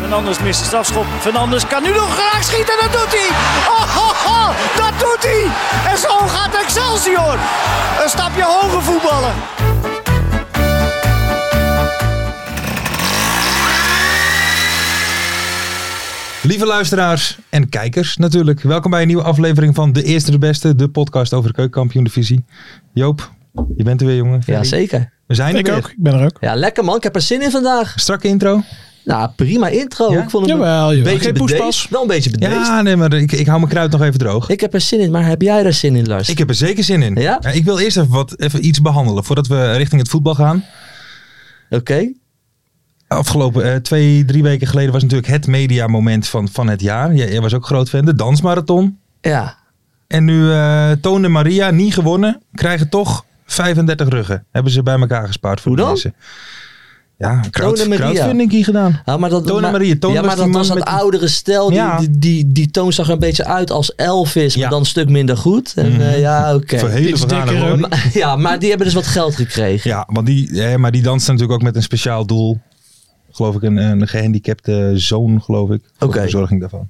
Fernandes mist de strafschop. Fernandes kan nu nog graag schieten. Dat doet hij. Oh, oh, oh, dat doet hij. En zo gaat Excelsior. Een stapje hoger voetballen. Lieve luisteraars en kijkers natuurlijk, welkom bij een nieuwe aflevering van De Eerste de Beste, de podcast over de keukenkampioen-divisie. Joop, je bent er weer jongen. Ja, Ferry, zeker. We zijn er Ik weer. ook, ik ben er ook. Ja, lekker man. Ik heb er zin in vandaag. Strakke intro. Nou, prima intro. Ja? Ik vond hem Jawel, een jawel. beetje Geen bedeesd. poespas. Wel een beetje bedeesd. Ja, nee, maar ik, ik hou mijn kruid nog even droog. Ik, Ik heb er zin in, maar heb jij er zin in, Lars? heb er zeker zin in. Ja? ik wil eerst even, wat, even iets behandelen voordat we richting het voetbal gaan. Oké. Afgelopen eh, twee, drie weken geleden was natuurlijk het mediamoment van, van het jaar. Jij, jij was ook groot fan, de dansmarathon. Ja. En nu eh Toon en Maria, niet gewonnen, krijgen toch 35 ruggen. Hebben ze bij elkaar gespaard voor Hoe de dan? mensen. Ja, crowd, Toon en Maria. crowdfunding hier gedaan. Ah, maar dat, Toon en maar- Maria. Toon ja, was maar die dat man was dat met die- oudere stijl. Die, Ja. die, die, die toon zag er een beetje uit als Elvis, Ja. Mhm. maar dan een stuk minder goed. En, eh, ja, oké. Voor hele Iets vergane dikker, woorden. Maar- Ja, maar die hebben dus wat geld gekregen. Ja, want die, hè, maar die danst natuurlijk ook met een speciaal doel. Geloof ik, een, een gehandicapte zoon, geloof ik. Voor Oké. de verzorging daarvan.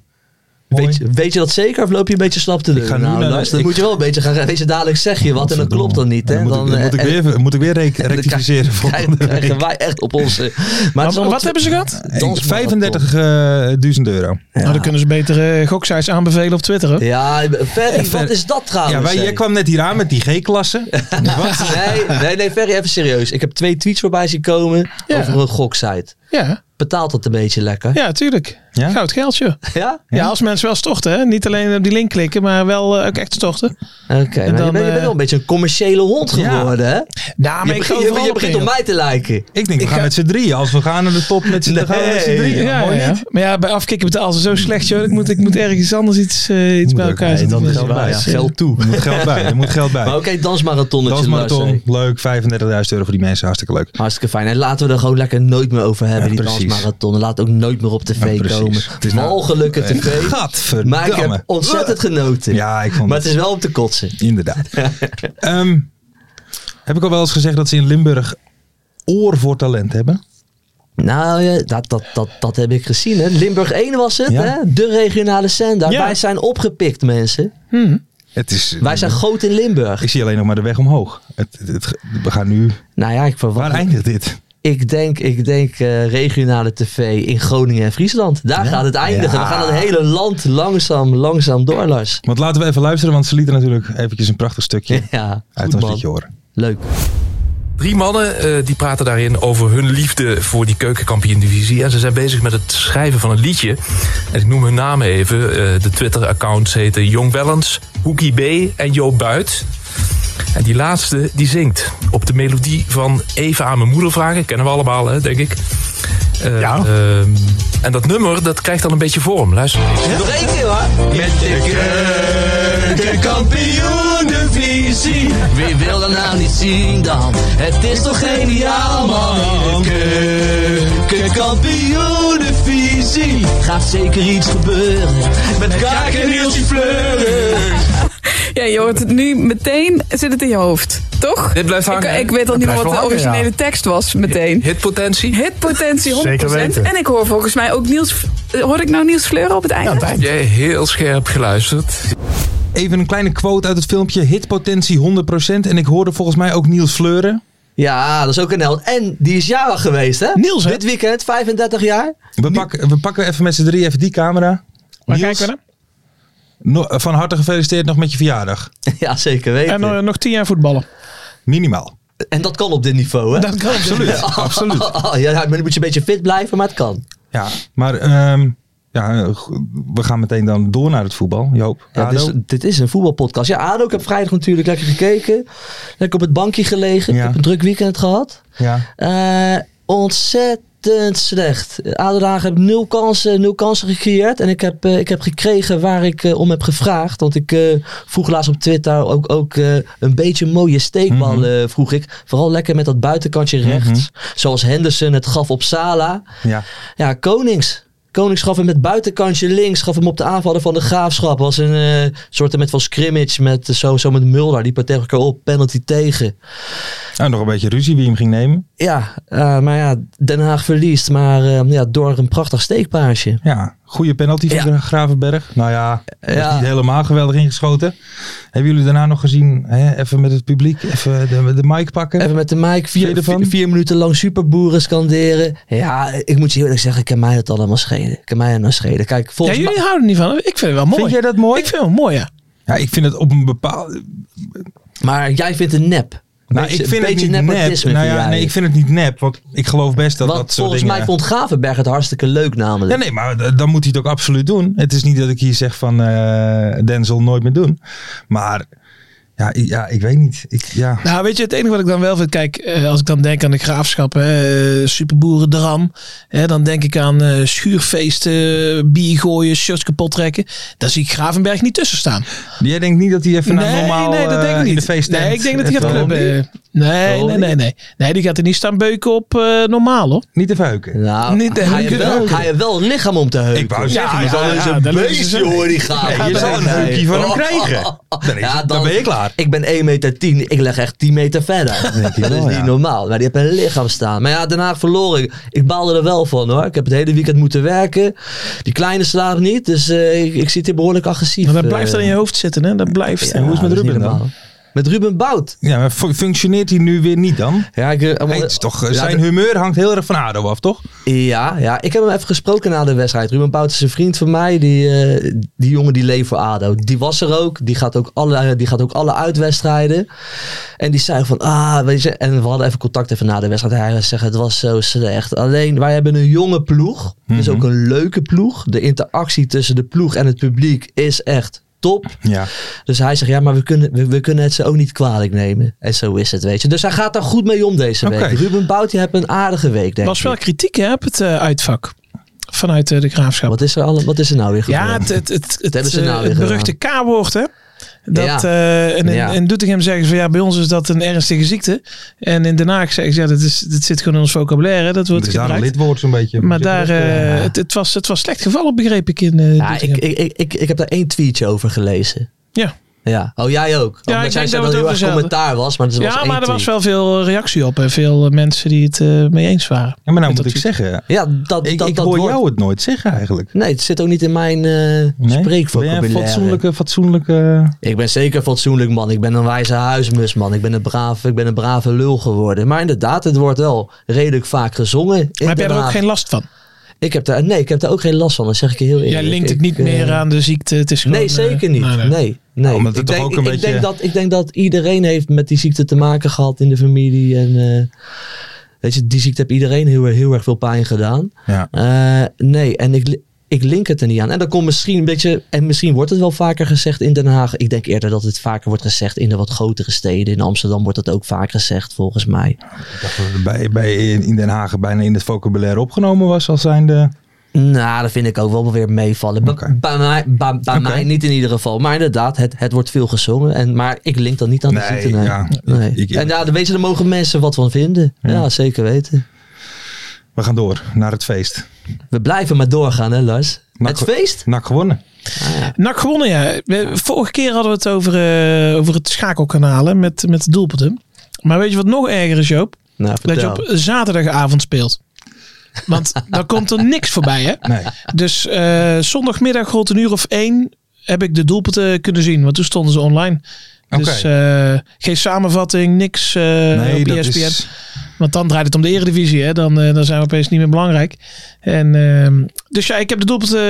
Weet, Mooi. je- weet je dat zeker of loop je een beetje slap te doen? ga nu naar de- Lars, dat ik- moet je wel een beetje gaan. Weet je, dadelijk zeg je wat en dat klopt dan niet. Dan, Hè? moet, ik, eh, moet, ik en- weer, moet ik weer rec- en dan rectificeren krijg- volgende krijgen week. wij echt op onze... Maar het is Maar allemaal wat te- hebben ze gehad? Dansmarathon. 35.000 eh, euro. Nou, dan kunnen ze betere goksites aanbevelen op Twitter. Hè? Ja, Ferry, Even- wat is dat trouwens? Ja, wij, hè? jij kwam net hier aan met die G-klasse. Wat? Nee, nee, nee, Ferry, even serieus. Ik heb twee tweets voorbij zien komen Ja. over een goksite. Ja, Betaalt dat een beetje lekker? ja tuurlijk. Ja? Goud geldje. Ja? Ja, als mensen wel storten. Hè? Niet alleen op die link klikken, maar wel eh, ook echt storten. Oké, maar je, dan, bent, je bent eh, wel een beetje een commerciële hond Ja. geworden, hè? Nou, je, begint- je- je begint op mij te lijken. Ik denk, we gaan met z'n drieën. Als we gaan naar de top met z'n dan gaan we met z'n Nee. drieën. Ja, Mooi ja. niet? Maar ja, bij afkikken betalen ze zo slecht, joh. Ik moet, ik moet ergens anders iets, eh, iets Moet bij ook, elkaar nee, zetten. dat is Dus, wel waar, eh, ja. Geld toe. Er moet geld bij. Er moet geld bij. Maar oké, dansmarathonnetje. Dansmarathon, Lars, hè. leuk. 35.000 euro voor die mensen. Hartstikke leuk. Hartstikke fijn. En laten we er gewoon lekker nooit meer over hebben, Ja, die precies. dansmarathon. En Laat ook nooit meer op Ja, tv precies. komen. Het is nou- Walgelijke Eh, tv. Gadverdamme. Maar ik heb ontzettend genoten. Ja, ik vond maar het- het is wel om te kotsen. Inderdaad. Ehm, heb ik al wel eens gezegd dat ze in Limburg oor voor talent hebben? Nou, ja, dat, dat, dat, dat heb ik gezien. Hè. Limburg 1 was het, Ja. hè? de regionale zender. Ja. Wij zijn opgepikt, mensen. Het is, Wij zijn groot in Limburg. ik zie alleen nog maar de weg omhoog. Het, het, het- we gaan nu... nou ja, ik Waar verwacht. eindigt dit? Ik denk, ik denk eh, regionale tv in Groningen en Friesland. Daar gaat het eindigen. We gaan het hele land langzaam, langzaam door, Lars. Want laten we even luisteren, want ze lieten natuurlijk eventjes een prachtig stukje Ja, uit goed ons man. liedje horen. Leuk. Drie mannen eh, die praten daarin over hun liefde voor die keukenkampioen-divisie. En ze zijn bezig met het schrijven van een liedje. En ik noem hun namen even. Eh, de Twitter-accounts heten Jong Wellens, Hoekie B en Jo Buit. En die laatste die zingt op de melodie van Even aan mijn moeder vragen. Kennen we allemaal, hè, denk ik. Eh, Ja. ehm, en dat nummer dat krijgt dan een beetje vorm. Luister eens. Nog één keer hoor. Met de kampioen divisie. Wie wil dat nou niet zien dan? Het is toch geniaal man. De kampioen divisie. Gaat zeker iets gebeuren. Met kaak en hieltje fleuren. Ja, je hoort het nu meteen, zit het in je hoofd, toch? Dit blijft hangen, hè? Ik, ik weet al Dat niet meer blijft wat de wel hangen, originele tekst was, meteen. Hitpotentie. Hitpotentie 100%. Zeker weten. En ik hoor volgens mij ook Niels... Hoor ik nou Niels Fleuren op het einde? Jij heel scherp geluisterd. Even een kleine quote uit het filmpje. Hitpotentie 100%. En ik hoorde volgens mij ook Niels Fleuren. Ja, dat is ook een held. En die is jarig geweest hè? Niels, hè? Dit weekend, 35 jaar. We, pakken, we pakken even met z'n drie even die camera. Maar Niels, kijken we naar. no- van harte gefeliciteerd nog met je verjaardag. Ja, zeker weten. En eh, nog tien jaar voetballen. Minimaal. eh, En dat kan op dit niveau, hè? Dat kan absoluut. Absoluut. ja, maar dan moet je een beetje fit blijven, maar het kan. Ja, maar ehm, ja, go- we gaan meteen dan door naar het voetbal. Joop, Ja, Ado. dus, dit is een voetbalpodcast. Ja, Ado, ik heb vrijdag natuurlijk lekker gekeken. Lekker op het bankje gelegen. Ja. Ik heb een druk weekend gehad. ja. Eh, ontzettend slecht. Ado Den Haag heeft nul kansen, nul kansen gecreëerd. En ik heb, eh, ik heb gekregen waar ik eh, om heb gevraagd. Want ik eh, vroeg laatst op Twitter ook, ook eh, een beetje mooie Mhm. steekballen, vroeg ik. Vooral lekker met dat buitenkantje rechts. Zoals Henderson het gaf op Sala. ja. Ja, Konings. Konings gaf hem met buitenkantje links, gaf hem op de aanvallen van de graafschap. Was een eh, soort met van scrimmage met eh, zo, zo met Mulder. Die partijen elkaar op, penalty tegen. En nog een beetje ruzie wie hem ging nemen. Ja, eh, maar ja, Den Haag verliest, maar eh, ja, door een prachtig steekpaasje. Ja, goede penalty van Ja. Gravenberg. Nou ja, dat is Ja. niet helemaal geweldig ingeschoten. Hebben jullie daarna nog gezien, hè, even met het publiek, even de, de mic pakken? Even met de mic, Vind je vier, ervan? vier, vier minuten lang superboeren scanderen. Ja, ik moet je heel eerlijk zeggen, ik kan mij dat allemaal schelen. Ik kan mij dat nou schelen. Kijk, Ja, volgens jullie mij... houden er niet van. Ik vind het wel mooi. Vind jij dat mooi? Ik vind het wel mooi, ja. Ja, ik vind het op een bepaalde... Maar jij vindt het nep. Nou, Beetje- ik vind het beetje niet nep. nepotisme Nou vind ja, jij. nee, ik vind het niet nep, want ik geloof best dat Want dat soort volgens dingen... mij vond Gavenberg het hartstikke leuk namelijk. Ja, nee, maar d- dan moet hij het ook absoluut doen. Het is niet dat ik hier zeg van eh Denzel nooit meer doen. Maar ja, i- ja ik weet niet. Ik, ja. Nou, weet je, het enige wat ik dan wel vind, kijk, eh, als ik dan denk aan de graafschap, hè, eh, superboeren, dram, hè, dan denk ik aan eh, schuurfeesten, bier gooien, shirts kapot trekken. Daar zie ik Gravenberg niet tussen staan. Jij denkt niet dat hij even naar normaal nee, dat eh, denk ik in de niet. feesttent... nee, ik denk dat hij gaat even- clubben. Nee, nee, nee, nee. Nee, die gaat er niet staan beuken op eh, normaal, hoor. Niet te verheuken. Nou, Niet te hij, heeft heuken. wel, hij heeft wel een lichaam om te heuken. Ik wou zeggen, Ja, je ja, zal ja, eens ja, een dan beest- lullen ze Beestje zo. hoor, die gaat. Nee, je zal een heukje van hem krijgen. Dan, is Ja, het- dan ben je klaar. Ik ben 1 meter 10, ik leg echt 10 meter verder. je dat wel, is niet ja. normaal. Maar die hebben een lichaam staan. Maar ja, daarna verloren. Ik, ik baalde er wel van hoor. Ik heb het hele weekend moeten werken. Die kleine slaapt niet, dus eh, ik, ik zit hier behoorlijk agressief. eh. Maar dat blijft dan in je hoofd zitten, hè. Dat blijft. En hoe is het met Ruben dan? Met Ruben Bout. Ja, maar fu- functioneert hij nu weer niet dan? Ja, ik, eh, Hij is toch, eh, Ja, zijn humeur hangt heel erg van ADO af, toch? Ja, ja, ik heb hem even gesproken na de wedstrijd. Ruben Bout is een vriend van mij. Die, eh, die jongen die leeft voor ADO. Die was er ook. Die gaat ook alle, eh, die gaat ook alle uitwedstrijden. En die zei van, ah, weet je. En we hadden even contact even na de wedstrijd. Hij zegt, het was zo slecht. Alleen, wij hebben een jonge ploeg. Dus Mhm. ook een leuke ploeg. De interactie tussen de ploeg en het publiek is echt top. Ja. Dus hij zegt, ja, maar we kunnen, we, we kunnen het ze ook niet kwalijk nemen. En zo is het, weet je. Dus hij gaat daar goed mee om deze Oké. week. Ruben Bout, die heeft een aardige week, denk Er was wel ik. kritiek, hè, op het eh, uitvak. Vanuit eh, de graafschap. Wat is er, alle, wat is er nou weer gebeurd? Ja, het, het, het, het, hebben ze eh, nou weer het beruchte K-woord, hè? Dat, Ja. eh, en in, Ja. in Doetinchem zeggen ze van ja, bij ons is dat een ernstige ziekte. En in Den Haag zeggen ze ja, dat, is, dat zit gewoon in ons vocabulaire, dat wordt Dus daar een gebruikt. lidwoord zo'n beetje. Maar daar, eh, het, het, was, het was slecht gevallen, begreep ik. In, eh, Ja, ik, Doetinchem. ik, ik, ik, ik heb daar één tweetje over gelezen. ja. Ja. Oh, jij ook? Ja, Omdat ik jij denk zei dat dat we er heel het erg over zouden. commentaar was, maar het was ja één maar er was tweet. wel veel reactie op en veel eh, mensen die het eh, mee eens waren. Ja, maar nou Met moet dat ik ziek- zeggen, Ja, dat, ik, dat, ik dat hoor woord- jou het nooit zeggen eigenlijk. Nee, het zit ook niet in mijn eh Nee? Ben jij spreekvocabulaire. een fatsoenlijke, fatsoenlijke... Ik ben zeker fatsoenlijk man. Ik ben een wijze huismus man. Ik ben een brave, ik ben een brave lul geworden. Maar inderdaad, het wordt wel redelijk vaak gezongen. in Maar heb jij Den er ook Haag. geen last van? Ik heb daar, nee, ik heb daar ook geen last van. Dat zeg ik je heel eerlijk. Jij linkt het Ik, niet eh, meer aan de ziekte. Het is gewoon, Nee, eh, zeker niet. nou, Nee, nou. nee. omdat het ik, toch denk, ook een ik, beetje- ik, denk dat, ik denk dat iedereen heeft met die ziekte te maken gehad in de familie. En eh, weet je, die ziekte heeft iedereen heel, heel erg veel pijn gedaan. Ja. Eh, nee, en ik, li- ik link het er niet aan. En dan komt misschien een beetje, en misschien wordt het wel vaker gezegd in Den Haag. Ik denk eerder dat het vaker wordt gezegd in de wat grotere steden. In Amsterdam wordt dat ook vaak gezegd, volgens mij. bij, bij, in Den Haag bijna in het vocabulaire opgenomen was als zijnde... Nou, dat vind ik ook wel weer meevallen. Bij- Oké. Bij, mij, bij, bij mij niet in ieder geval. Maar inderdaad, het, het wordt veel gezongen. En, maar ik link dat niet aan de Nee, ziekte. Nee. ja. Nee. Ik- ik- en ja, dan weet je, daar mogen mensen wat van vinden. Ja. zeker weten. We gaan door naar het feest. We blijven maar doorgaan, hè Lars? Nou, het feest? NAC gewonnen. NAC gewonnen, ja. We- Vorige keer hadden we het over, eh, over het schakelkanaal hè, met, met de doelpunten. Maar weet je wat nog erger is, Joop? Nou, Dat je vertel. op zaterdagavond speelt. Want dan komt er niks voorbij, hè? Nee. Dus eh, zondagmiddag rond een uur of één heb ik de doelpunten kunnen zien. Want toen stonden ze online. Dus eh, geen samenvatting, niks eh nee, op dat ESPN. is... Want dan draait het om de eredivisie. Hè? Dan, eh, dan zijn we opeens niet meer belangrijk. En, ehm, dus ja, ik heb de doelpunten eh,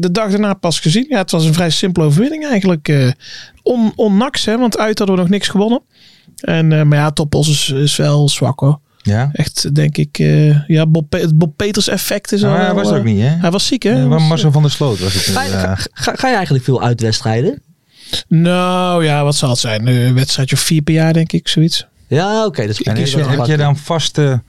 de dag daarna pas gezien. Ja, het was een vrij simpele overwinning eigenlijk. eh on, onnaks, hè, want uit hadden we nog niks gewonnen. En, eh, maar ja, Topos is, is wel zwak hoor. Ja. Echt, denk ik, eh, ja, Bob, Pe- het Bob Peters effect is Maar al hij was wel, er ook eh, niet, hè? Hij was ziek, hè? Nee, maar Was- Marcel van der Sloot was het. Ga, eh, ga, ga, ga je eigenlijk veel uitwedstrijden? Nou ja, wat zal het zijn? Een eh, wedstrijdje of vier per jaar, denk ik, zoiets. Ja, oké. dat is En kun is, je wel heb pakken. je dan vaste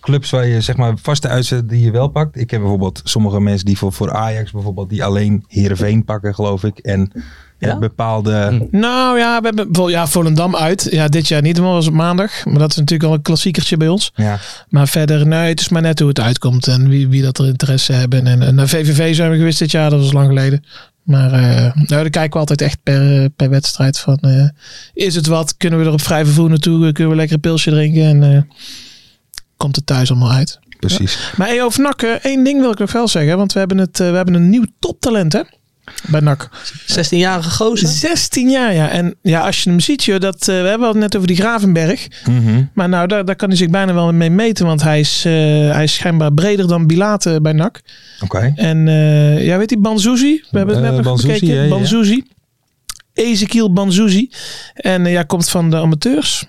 clubs waar je zeg maar vaste uitzetten die je wel pakt? Ik heb bijvoorbeeld sommige mensen die voor, voor Ajax bijvoorbeeld die alleen Heerenveen pakken geloof ik en ja? Ja? bepaalde Nou ja, we hebben bijvoorbeeld ja, Volendam uit. Ja, dit jaar niet, want dat was op maandag. Maar dat is natuurlijk al een klassiekertje bij ons. ja. Maar verder, nee, het is maar net hoe het uitkomt en wie, wie dat er interesse hebben. En, en naar VVV zijn we geweest dit jaar, dat was lang geleden. Maar eh nou, dan kijken we altijd echt per, eh, per wedstrijd van, eh, is het wat? Kunnen we er op vrij vervoer naartoe? Eh, Kunnen we lekker een pilsje drinken? En eh, komt het thuis allemaal uit. precies. Maar hey, over NAC, eh, één ding wil ik nog wel zeggen. Want we hebben, het, eh, we hebben een nieuw toptalent, hè? Bij NAC. 16-jarige gozer. 16 jaar, ja. En ja, als je hem ziet, joh, dat, eh, we hebben het net over die Gravenberg. Mhm. Maar nou, daar, daar kan hij zich bijna wel mee meten. Want hij is, eh, hij is schijnbaar breder dan Bilate bij NAC. Oké. En eh ja, weet die Banzuzi? We hebben het net Eh, nog Banzuzi, gekeken. ja, ja. Banzuzi. Ezekiel Banzuzi. En eh, ja, komt van de amateurs.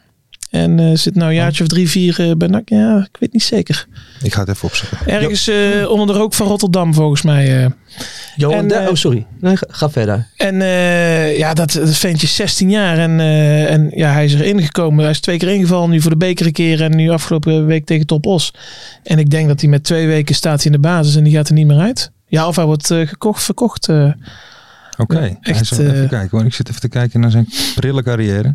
En eh, zit nou een jaartje of drie, vier eh, bij NAC. Ja, ik weet niet zeker. Ik ga het even opzoeken. Ergens eh, onder de rook van Rotterdam volgens mij. eh. Johan En, Der- eh, oh, sorry. Nee, ga, ga verder. En eh, ja, dat, dat ventje is 16 jaar en, eh, en ja, hij is erin gekomen. Hij is twee keer ingevallen, nu voor de beker een keer en nu afgelopen week tegen Top Os. En ik denk dat hij met twee weken staat hij in de basis en die gaat er niet meer uit. Ja, of hij wordt eh, gekocht, verkocht. eh. Oké. Ja, echt, Hij zal- even eh, kijken hoor. Ik zit even te kijken naar zijn prille carrière.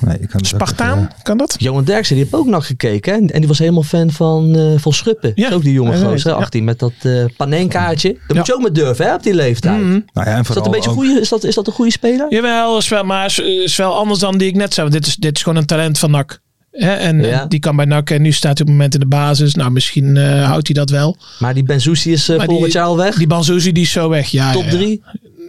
Nee, ik kan het ook Spartaan, eh, even- kan dat? Johan Derksen, die heb ik ook nog gekeken. Hè? En die was helemaal fan van, eh van Schuppen. Ja, Dat is ook die jonge hij weet, gozer, hè, ja. 18, met dat eh panenkaartje. Dat moet je ook met durven, hè, op die leeftijd. Mhm. nou ja, en Is dat vooral een beetje ook- goeie, is dat, is dat een goede speler? Jawel, is wel, maar is, is wel anders dan die ik net zei. Want Dit is, dit is gewoon een talent van NAC. Hè? En eh, Ja. die kan bij NAC en nu staat hij op het moment in de basis. Nou, misschien eh, houdt hij dat wel. Maar die Benzoussi is eh, Maar die- volgend jaar al weg. Die Banzuzi die is zo weg. Ja, Top ja, ja. 3.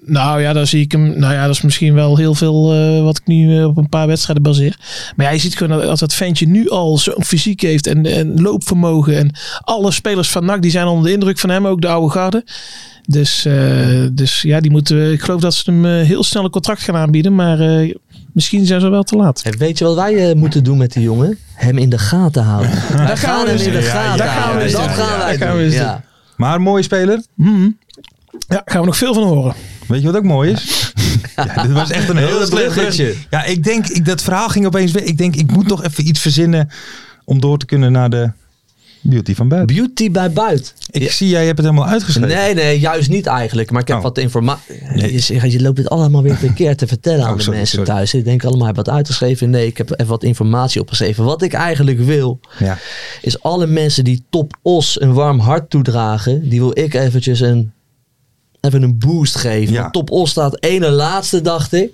Nou ja, daar zie ik hem. Nou ja, dat is misschien wel heel veel eh, wat ik nu eh, op een paar wedstrijden baseer. Maar ja, je ziet gewoon dat, dat dat ventje nu al zo'n fysiek heeft en, en loopvermogen. En alle spelers van NAC die zijn onder de indruk van hem, ook de oude garde. Dus, eh, dus ja, die moeten we. Ik geloof dat ze hem eh, heel snel een contract gaan aanbieden. Maar eh, misschien zijn ze wel te laat. En weet je wat wij eh, moeten doen met die jongen? Hem in de gaten houden. Wij gaan we gaan hem eens in de doen. gaten daar gaan we houden. eens Dat doen. gaan wij Daar gaan we dus doen. eens Ja. Maar een mooie speler. Ja, gaan we nog veel van horen. Weet je wat ook mooi is? Ja, dit was echt een heel Heel slecht bruggetje. bruggetje. Ja, ik denk, ik, dat verhaal ging opeens weg. Ik denk, ik moet nog even iets verzinnen om door te kunnen naar de beauty van buiten. Beauty bij buiten. Ik Ja. zie, jij hebt het helemaal uitgeschreven. Nee, nee, juist niet eigenlijk. Maar ik heb Oh. wat informatie. Nee. Je, zegt, je loopt dit allemaal weer verkeerd te vertellen aan Oh, de sorry, mensen sorry. thuis. Ik denk allemaal, heb wat uitgeschreven. Nee, ik heb even wat informatie opgeschreven. Wat ik eigenlijk wil, Ja. is alle mensen die Top Os een warm hart toedragen, die wil ik eventjes een, even een boost geven. Ja. Want Top Os staat één en laatste, dacht ik.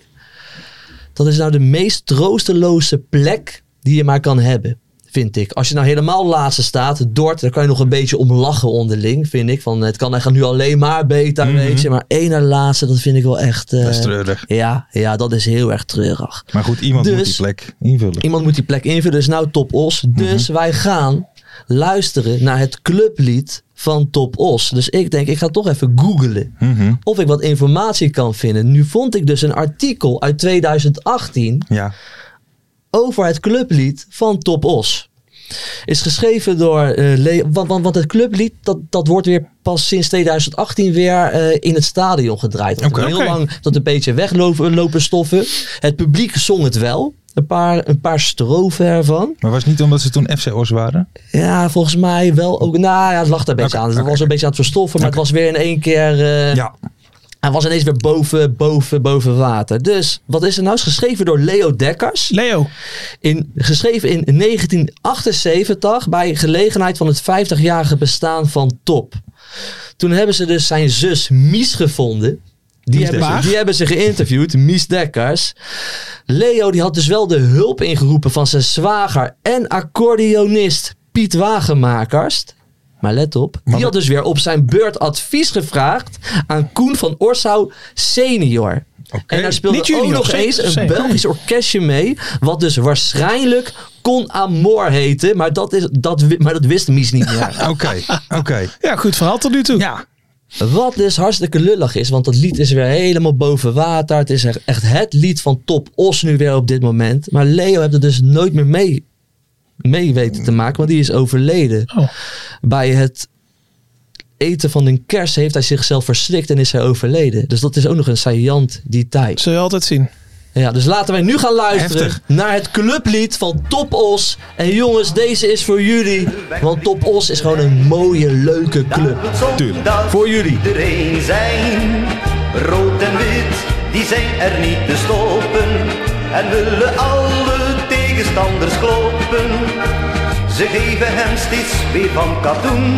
Dat is nou de meest troosteloze plek die je maar kan hebben. Vind ik. Als je nou helemaal laatste staat, Dort, daar kan je nog een beetje om lachen onderling, vind ik. Van het kan echt nu alleen maar beter, weet je. Maar één na laatste, dat vind ik wel echt. eh, Mhm. Dat is treurig. ja, ja, dat is heel erg treurig. Maar goed, iemand moet die Dus- plek invullen. Iemand moet die plek invullen. Dus nou Top Os. Dus Mhm. wij gaan luisteren naar het clublied van Top Os. Dus ik denk, ik ga toch even googlen. Mhm. Of ik wat informatie kan vinden. Nu vond ik dus een artikel uit 2018 Ja. over het clublied van Top Os. Is geschreven door eh, Le- want, want, want het clublied, dat, dat wordt weer pas sinds 2018 weer eh, in het stadion gedraaid. Dat Oké. heel Oké. lang dat een beetje weglopen lopen stoffen. Het publiek zong het wel. Een paar, een paar strofen ervan. Maar was het niet omdat ze toen FC Os waren? Ja, volgens mij wel ook. Nou ja, het lag daar een beetje Oké, aan. Het oké. was een beetje aan het verstoffen, maar het was weer in één keer. eh, Ja. Hij was ineens weer boven, boven, boven water. Dus wat is er nou? Is geschreven door Leo Dekkers. Leo, In, geschreven in 1978 bij gelegenheid van het 50-jarige bestaan van Top. Toen hebben ze dus zijn zus Mies gevonden. Die, Mies hebben Dekkers. ze, die hebben ze geïnterviewd, Mies Dekkers. Leo die had dus wel de hulp ingeroepen van zijn zwager en accordeonist Piet Wagenmakers. Maar let op, die had dus weer op zijn beurt advies gevraagd aan Koen van Orsouw senior. En daar speelde Niet junior, ook nog senior, eens een senior. Belgisch orkestje mee, wat dus waarschijnlijk Con Amor heette, maar dat, is, dat, wi- maar dat wist Mies niet meer. Oké, oké. ja, goed verhaal tot nu toe. Ja. Wat dus hartstikke lullig is, want dat lied is weer helemaal boven water. Het is echt- echt het lied van Top Os nu weer op dit moment. Maar Leo heeft het dus nooit meer mee, mee weten te maken, want die is overleden. Oh. Bij het eten van een kers heeft hij zichzelf verslikt en is hij overleden. Dus dat is ook nog een saillant die tijd. Zul je altijd zien. Ja, dus laten wij nu gaan luisteren Heftig. naar het clublied van Top Os. En jongens, deze is voor jullie. Want Top Os is gewoon een mooie, leuke club. Tuurlijk. Voor jullie. iedereen zijn. Rood en wit, die zijn er niet te stoppen. En willen alle tegenstanders kloppen. Ze geven hem steeds weer van katoen.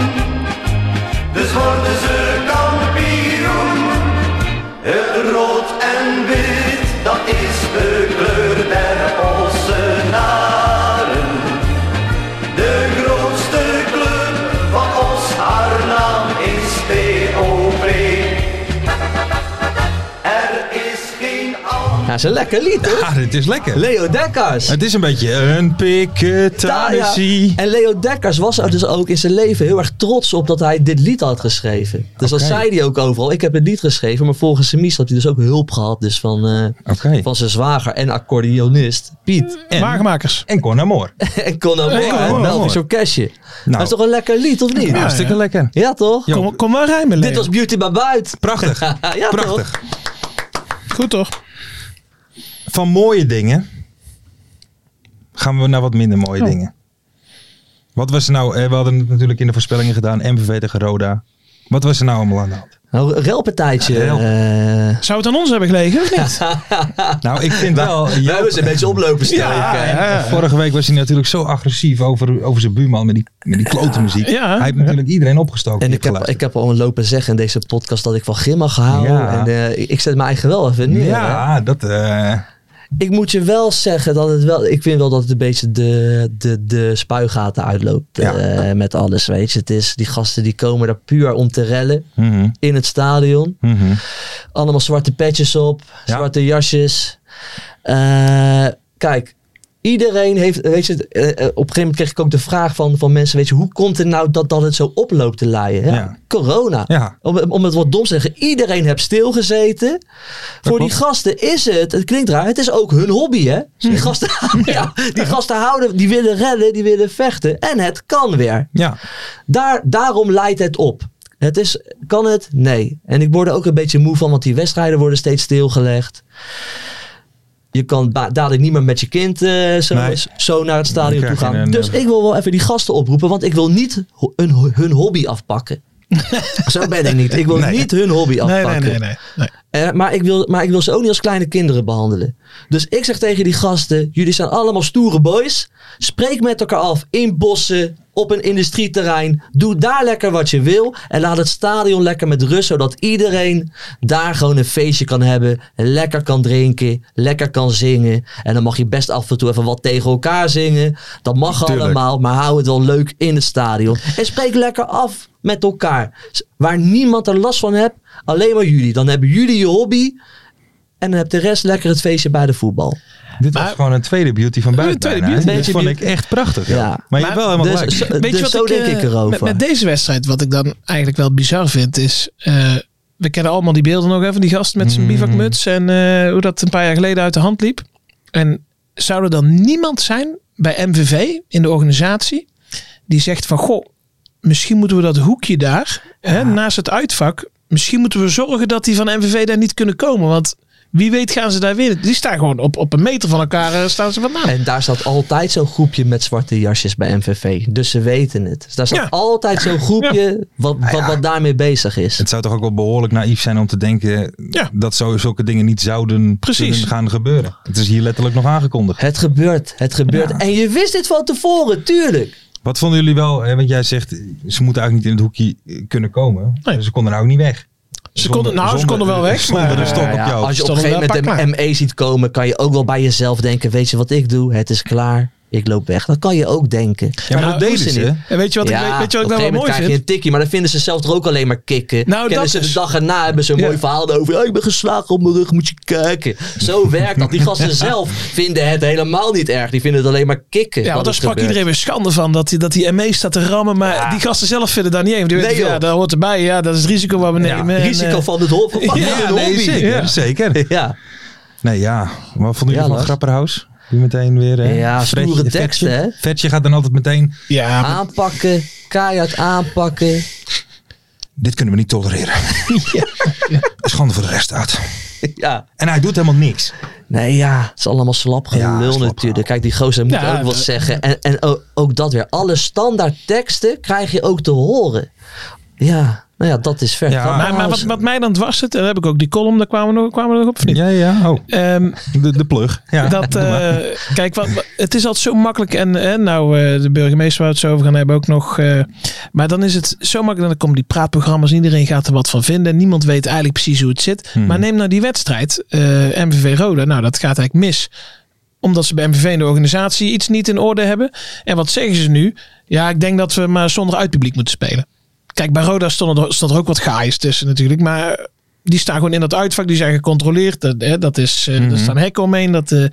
Dus worden ze kampioen. Het rood en wit, dat is de kleur der Ossenaren. De grootste club van ons, haar naam is POP. Er is geen ander. Ja, dat is een lekker lied, hoor. Ja, Ah, dit is lekker. Leo Dekkers. het is een beetje een piketatie. En Leo Dekkers was er dus ook in zijn leven heel erg trots op dat hij dit lied had geschreven. Dus Oké. dat zei hij ook overal. Ik heb het lied geschreven, maar volgens zijn mies had hij dus ook hulp gehad dus van, eh, Oké. van zijn zwager en accordeonist Piet. En, Wagenmakers. En Con Amor. en Conor Hey, Moore, Conor een Belgisch Moore. orkestje. Nou. Dat is toch een lekker lied, of niet? Ja, Hartstikke lekker. toch? Ja. Kom, kom maar rijmen, Leo. Dit was Beauty by Buit. Prachtig. ja, Prachtig. Toch? Goed toch? Van mooie dingen gaan we naar wat minder mooie Oh. dingen. Wat was er nou, eh, we hadden het natuurlijk in de voorspellingen gedaan, MVV tegen Roda. Wat was er nou allemaal aan de hand? Nou, een relpartijtje. Ja, rel. eh. Zou het aan ons hebben gelegen of niet? Nou, ik vind wel... Wij Joop- hebben een beetje oplopen stijgen. Vorige week was hij natuurlijk zo agressief over, over zijn buurman met die, met die klote muziek. Ja. Hij heeft natuurlijk iedereen opgestoken. En die ik heb, geluisterd. ik heb al een lopen zeggen in deze podcast dat ik van Grimma ga houden. Ja. En eh, ik- ik zet mijn eigen wel even neer. hè. Ja, dat... eh, Ik moet je wel zeggen dat het wel. Ik vind wel dat het een beetje de, de, de spuigaten uitloopt. Ja. eh, met alles. Weet je, het is die gasten die komen daar puur om te rellen. mhm, In het stadion. mhm. Allemaal zwarte petjes op, Ja. zwarte jasjes. Eh, kijk. Iedereen heeft, weet je, eh, eh, op een gegeven moment kreeg ik ook de vraag van, van mensen, weet je, hoe komt het nou dat, dat het zo oploopt te laaien? Ja, Ja. Corona. Ja. Om, om het wat dom te zeggen, iedereen heeft stilgezeten. Voor die gasten is het, het klinkt raar, het is ook hun hobby, hè? Die gasten, ja, die gasten houden, die willen rennen, die willen vechten. En het kan weer. Ja, Daar, daarom leidt het op. Het is, kan het? Nee. En ik word er ook een beetje moe van, want die wedstrijden worden steeds stilgelegd. Je kan ba- dadelijk niet meer met je kind eh, zo, Nee. zo naar het Dan stadion toe krijg je gaan. een, dus eh, ik wil wel even die gasten oproepen, want ik wil niet ho- hun, hun hobby afpakken. zo ben ik niet. Ik wil niet hun hobby Nee, afpakken. nee, nee, nee. nee. Eh, maar, ik wil, maar ik wil ze ook niet als kleine kinderen behandelen. Dus ik zeg tegen die gasten: jullie zijn allemaal stoere boys. Spreek met elkaar af in bossen, op een industrieterrein. Doe daar lekker wat je wil. En laat het stadion lekker met rust, zodat iedereen daar gewoon een feestje kan hebben. Lekker kan drinken, lekker kan zingen. En dan mag je best af en toe even wat tegen elkaar zingen. Dat mag Tuurlijk. allemaal, maar hou het wel leuk in het stadion. En spreek lekker af met elkaar. S- Waar niemand er last van hebt, alleen maar jullie. Dan hebben jullie je hobby. En dan heb de rest lekker het feestje bij de voetbal. dit was Maar- gewoon een tweede beauty van buiten. tweede bijna, hè? beauty. Dit vond ik echt prachtig. Ja. Ja. Maar je hebt wel helemaal Dus, gelijk. zo, Weet dus je wat zo ik, denk eh, ik erover. Met, met deze wedstrijd, wat ik dan eigenlijk wel bizar vind, is... eh, we kennen allemaal die beelden nog even, van die gast met Mm. zijn bivakmuts. En eh, hoe dat een paar jaar geleden uit de hand liep. En zou er dan niemand zijn bij MVV in de organisatie die zegt van... Goh, misschien moeten we dat hoekje daar, hè, naast het uitvak... Misschien moeten we zorgen dat die van MVV daar niet kunnen komen. Want wie weet gaan ze daar winnen. Die staan gewoon op, op een meter van elkaar eh, staan ze vandaan. En daar staat altijd zo'n groepje met zwarte jasjes bij MVV. Dus ze weten het. Dus daar staat Ja. altijd zo'n groepje wat, wat, wat daarmee bezig is. Het zou toch ook wel behoorlijk naïef zijn om te denken Ja. dat zo, zulke dingen niet zouden Precies. kunnen gaan gebeuren. Het is hier letterlijk nog aangekondigd. Het gebeurt, het gebeurt. En je wist dit van tevoren, tuurlijk. Wat vonden jullie wel, hè, want jij zegt ze moeten eigenlijk niet in het hoekje eh, kunnen komen. Nee. Ze konden nou ook niet weg. Ze konden, nou, ze konden wel weg. Zonder maar- de stok op Ja, jou. als je op Stond een E gegeven hem moment daar een ME ziet komen, kan je ook wel bij jezelf denken: weet je wat ik doe? Het is klaar. Ik loop weg. Dat kan je ook denken. Ja, maar dat deden doen ze. niet. hè? En weet je wat, ik, weet- weet je wat op ik een nou wel gegeven moment mooi krijg je vind? een tikkie, maar dan vinden ze zelf er ook alleen maar kicken. Nou, dat Kennen ze dus. de dag erna, hebben ze een Ja. mooi verhaal over. "Ja, ik ben geslagen op mijn rug, moet je kijken. Zo werkt dat. Die gasten zelf vinden het helemaal niet erg. Die vinden het alleen maar kicken. Ja, want daar dat sprak iedereen weer schande van dat hij dat die ME staat te rammen. Maar die gasten zelf vinden daar niet even. Die Nee, weten, ja, joh. dat hoort erbij. Ja, dat is het risico wat we Ja, nemen. En, Risico eh, van het hof. Van Ja, het nee, hobby. Zeker, Ja. zeker. Ja, Nee, ja. Wat vonden Ja, jullie van Lars. Grapperhaus? Die meteen weer... eh, Ja, Fredje- stoere teksten, Vetje- hè? Vetje gaat dan altijd meteen... ja, maar- aanpakken. Keihard aanpakken. Dit kunnen we niet tolereren. Schande voor de rechtsstaat. Ja. En hij doet helemaal niks. Nee, ja. Het is allemaal slap Ja, slap gelul natuurlijk. gehaald. Kijk, die gozer moet Ja, ook wat dat- zeggen. En, en ook, ook dat weer. Alle standaard teksten krijg je ook te horen. Ja. Nou ja, dat is ver. Ja, maar, maar wat, wat mij dan dwars zit, en daar heb ik ook die column, daar kwamen we nog, kwamen we nog op. of niet? Ja, ja. Oh, Ehm, de, de plug. Ja, dat, doe maar. eh, kijk, wat, wat- het is altijd zo makkelijk. En eh, nou, eh, de burgemeester waar we het zo over gaan hebben ook nog. eh, maar dan is het zo makkelijk. Dan komen die praatprogramma's. Iedereen gaat er wat van vinden. Niemand weet eigenlijk precies hoe het zit. Hmm. Maar neem nou die wedstrijd. eh, MVV Roda. Nou, dat gaat eigenlijk mis. Omdat ze bij MVV en de organisatie iets niet in orde hebben. En wat zeggen ze nu? Ja, ik denk dat we maar zonder uitpubliek moeten spelen. Kijk, bij Roda stond er, stond er ook wat gaais tussen natuurlijk. Maar die staan gewoon in dat uitvak. Die zijn gecontroleerd. Dat, hè, dat is, eh Mhm. Er staan hekken omheen. Dat, eh,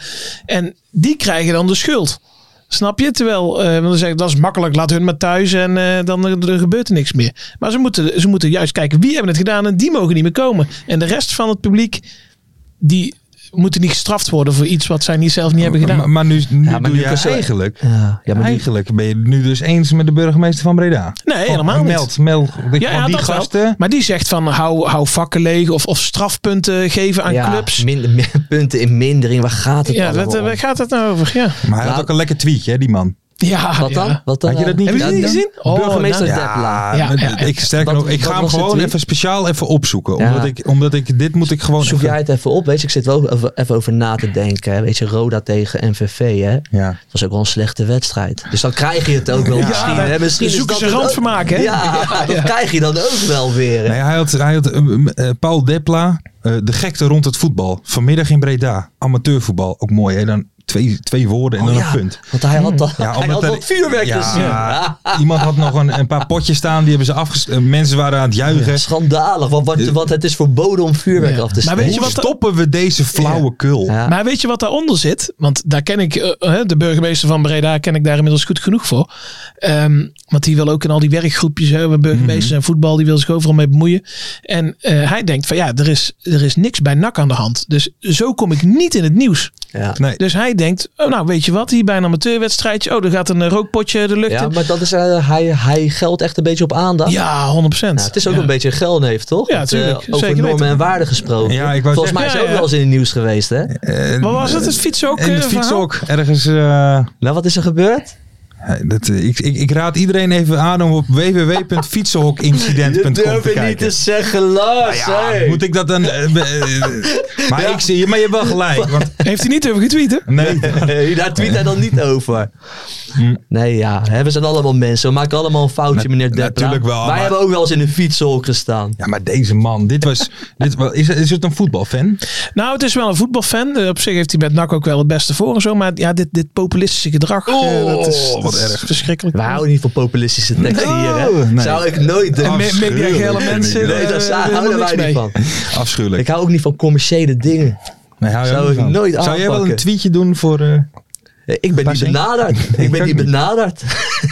en die krijgen dan de schuld. Snap je? Terwijl, eh want dan zeggen, dat is makkelijk. Laat hun maar thuis en eh, dan er, er gebeurt er niks meer. Maar ze moeten, ze moeten juist kijken wie hebben het gedaan. En die mogen niet meer komen. En de rest van het publiek, die moeten niet gestraft worden voor iets wat zij niet zelf niet hebben gedaan. Maar, maar nu, nu maar doe nu je kan ze- eigenlijk... Ja, ja, maar die- eigenlijk ben je het nu dus eens met de burgemeester van Breda. Nee, helemaal niet. Meld, meld. want ja, ja, die dat wel. gasten... Maar die zegt van hou, hou vakken leeg of, of strafpunten geven aan ja, clubs. minder- meer punten in mindering. Waar gaat het Ja, allemaal wat, eh, om? waar gaat het nou over? Ja. Maar hij had Nou, ook een lekker tweetje, hè, die man. ja Wat dan? ja. Wat dan? Had je dat niet eh, Heb je die gezien? niet gezien? Oh, Burgemeester nou. Depla. Ja, Ja, met- ja, ja. ik, sterker Wat- nog, ik wat ga hem was het gewoon tweet? even speciaal even opzoeken. Ja. Omdat, ik, omdat ik, dit moet ik gewoon Zoek even- jij het even op, weet je. Ik zit wel even, even over na te denken. Hè. Weet je, Roda tegen MVV, hè. Ja. Het was ook wel een slechte wedstrijd. Dus dan krijg je het ook wel misschien. Hè? misschien is zoeken dat ze het ook- randvermaak, hè? Ja, dat krijg je dan ook wel weer. hè. Nee, hij had, hij had eh, m- eh, Paul Depla, eh, de gekte rond het voetbal. Vanmiddag in Breda, amateurvoetbal. Ook mooi, hè? Dan twee, twee woorden en Oh dan ja, een punt. Want hij had, dat, Ja, hij omdat had er- wat vuurwerk Ja, gezien. dus- Ja. Iemand had nog een, een paar potjes staan, die hebben ze afges... eh, mensen waren aan het juichen. Schandalig, want wat, wat, het is verboden om vuurwerk Ja. af te Maar steken. weet Hoe je wat- stoppen we deze flauwekul? Ja. Maar weet je wat daaronder zit? Want daar ken ik, eh, eh, de burgemeester van Breda ken ik daar inmiddels goed genoeg voor. Ehm, want die wil ook in al die werkgroepjes, hè, waar burgemeesters en voetbal, die wil zich overal mee bemoeien. En eh, hij denkt van ja, er is, er is niks bij NAC aan de hand. Dus zo kom ik niet in het nieuws. Ja. Nee. Dus hij denkt, oh, nou weet je wat, hier bij een amateurwedstrijdje, oh er gaat een eh, rookpotje de lucht Ja, in. maar dat is, eh, hij, hij geldt echt een beetje op aandacht. Ja, 100 procent. Nou, het is ook een beetje een heeft, toch? Ja, Want, eh, tuurlijk. over Zeker normen weten. en waarden gesproken. Ja, ik wou zeggen- Volgens mij is Ja, ook ja. wel eens in het nieuws geweest, hè? Eh, Wat was het? Het fietsen ook? En eh, de fiets verhaal? ook. Ergens... eh, Nou, wat is er gebeurd? Ja, Dat, eh, ik, ik, ik raad iedereen even aan om op www.fietsenhokincident.com te kijken. Nou zeggen, Lars. hè? Moet ik dat dan... eh, be- eh, maar, ik zie, maar je hebt wel gelijk. Want, Heeft hij niet over getweet, hè? nee, Nee, daar tweet hij dan niet over. Nee, ja, hè, we zijn allemaal mensen. We maken allemaal een foutje, Hm. Na- meneer Deppra. natuurlijk wel, Wij maar- hebben ook wel eens in een fietshok gestaan. ja, maar deze man, dit was... Dit, wa- is, is het een voetbalfan? Nou, het is wel een voetbalfan. Eh, Op zich heeft hij met NAC ook wel het beste voor en zo. Maar ja, dit, dit populistische gedrag, eh, dat is, dat Oh, wat is erg. verschrikkelijk. We houden niet van populistische teksten Nee. Oh, hier, hè? Nee. Ah, Zou ik nooit doen. En me- Afschuwelijk. mediagele mensen, Nee, daar eh, zou- houden helemaal wij niet niks van. Ik Afschuwelijk. hou ook niet van commerciële dingen. Nee, hou je zou ook niet ik van. nooit Zou jij wel een aanpakken. tweetje doen voor... eh, Ik ben Waar denk niet je? benaderd. Ik Ik ben ook niet niet. benaderd.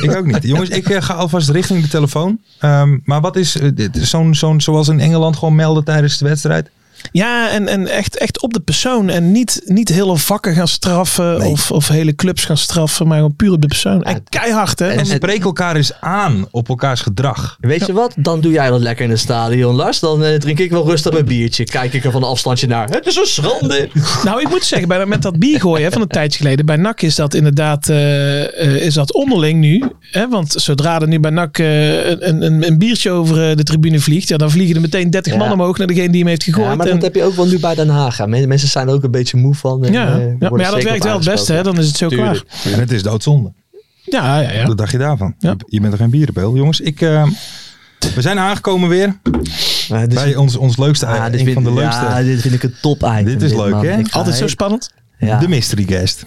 ik ook niet. Jongens, ik eh, ga alvast richting de telefoon. Ehm, maar wat is eh, dit- zo'n... zo'n zoals in Engeland gewoon melden tijdens de wedstrijd? Ja, en, en echt, echt op de persoon. En niet, niet hele vakken gaan straffen Nee. of, of hele clubs gaan straffen. Maar gewoon puur op de persoon. En keihard, hè? En en- spreek elkaar eens aan op elkaars gedrag. Weet je wat? Dan doe jij dat lekker in het stadion, Lars. Dan eh, drink ik wel rustig mijn biertje. Kijk ik er van een afstandje naar. Het is een schande. Nou, ik moet zeggen, bij, dat- met dat biergooien hè, van een tijdje geleden. Bij NAC is dat inderdaad eh, eh, is dat onderling nu. Hè? Want zodra er nu bij NAC eh, een, een, een biertje over eh, de tribune vliegt. Ja, dan vliegen er meteen 30 man Ja. omhoog naar degene die hem heeft gegooid. Ja, maar En- dat heb je ook wel nu bij Den Haag. hè. Men- Mensen zijn er ook een beetje moe van. en, ja, eh, ja, worden maar ja, dat zeker werkt op wel het beste. Hè? aangesproken. Dan is het zo klaar. Tuurlijk. En het is doodzonde. Ja, ja, ja. Wat dacht je daarvan? Ja. Je, je bent toch geen bierenbeel? Jongens, ik, eh, we zijn aangekomen weer Ja, dit is- bij ons, ons leukste Ah, eind. dit Een vind, van de leukste. ja, dit vind ik een top item. Dit is leuk, man. hè? Ik ga Altijd zo heel- spannend. ja. De mystery guest.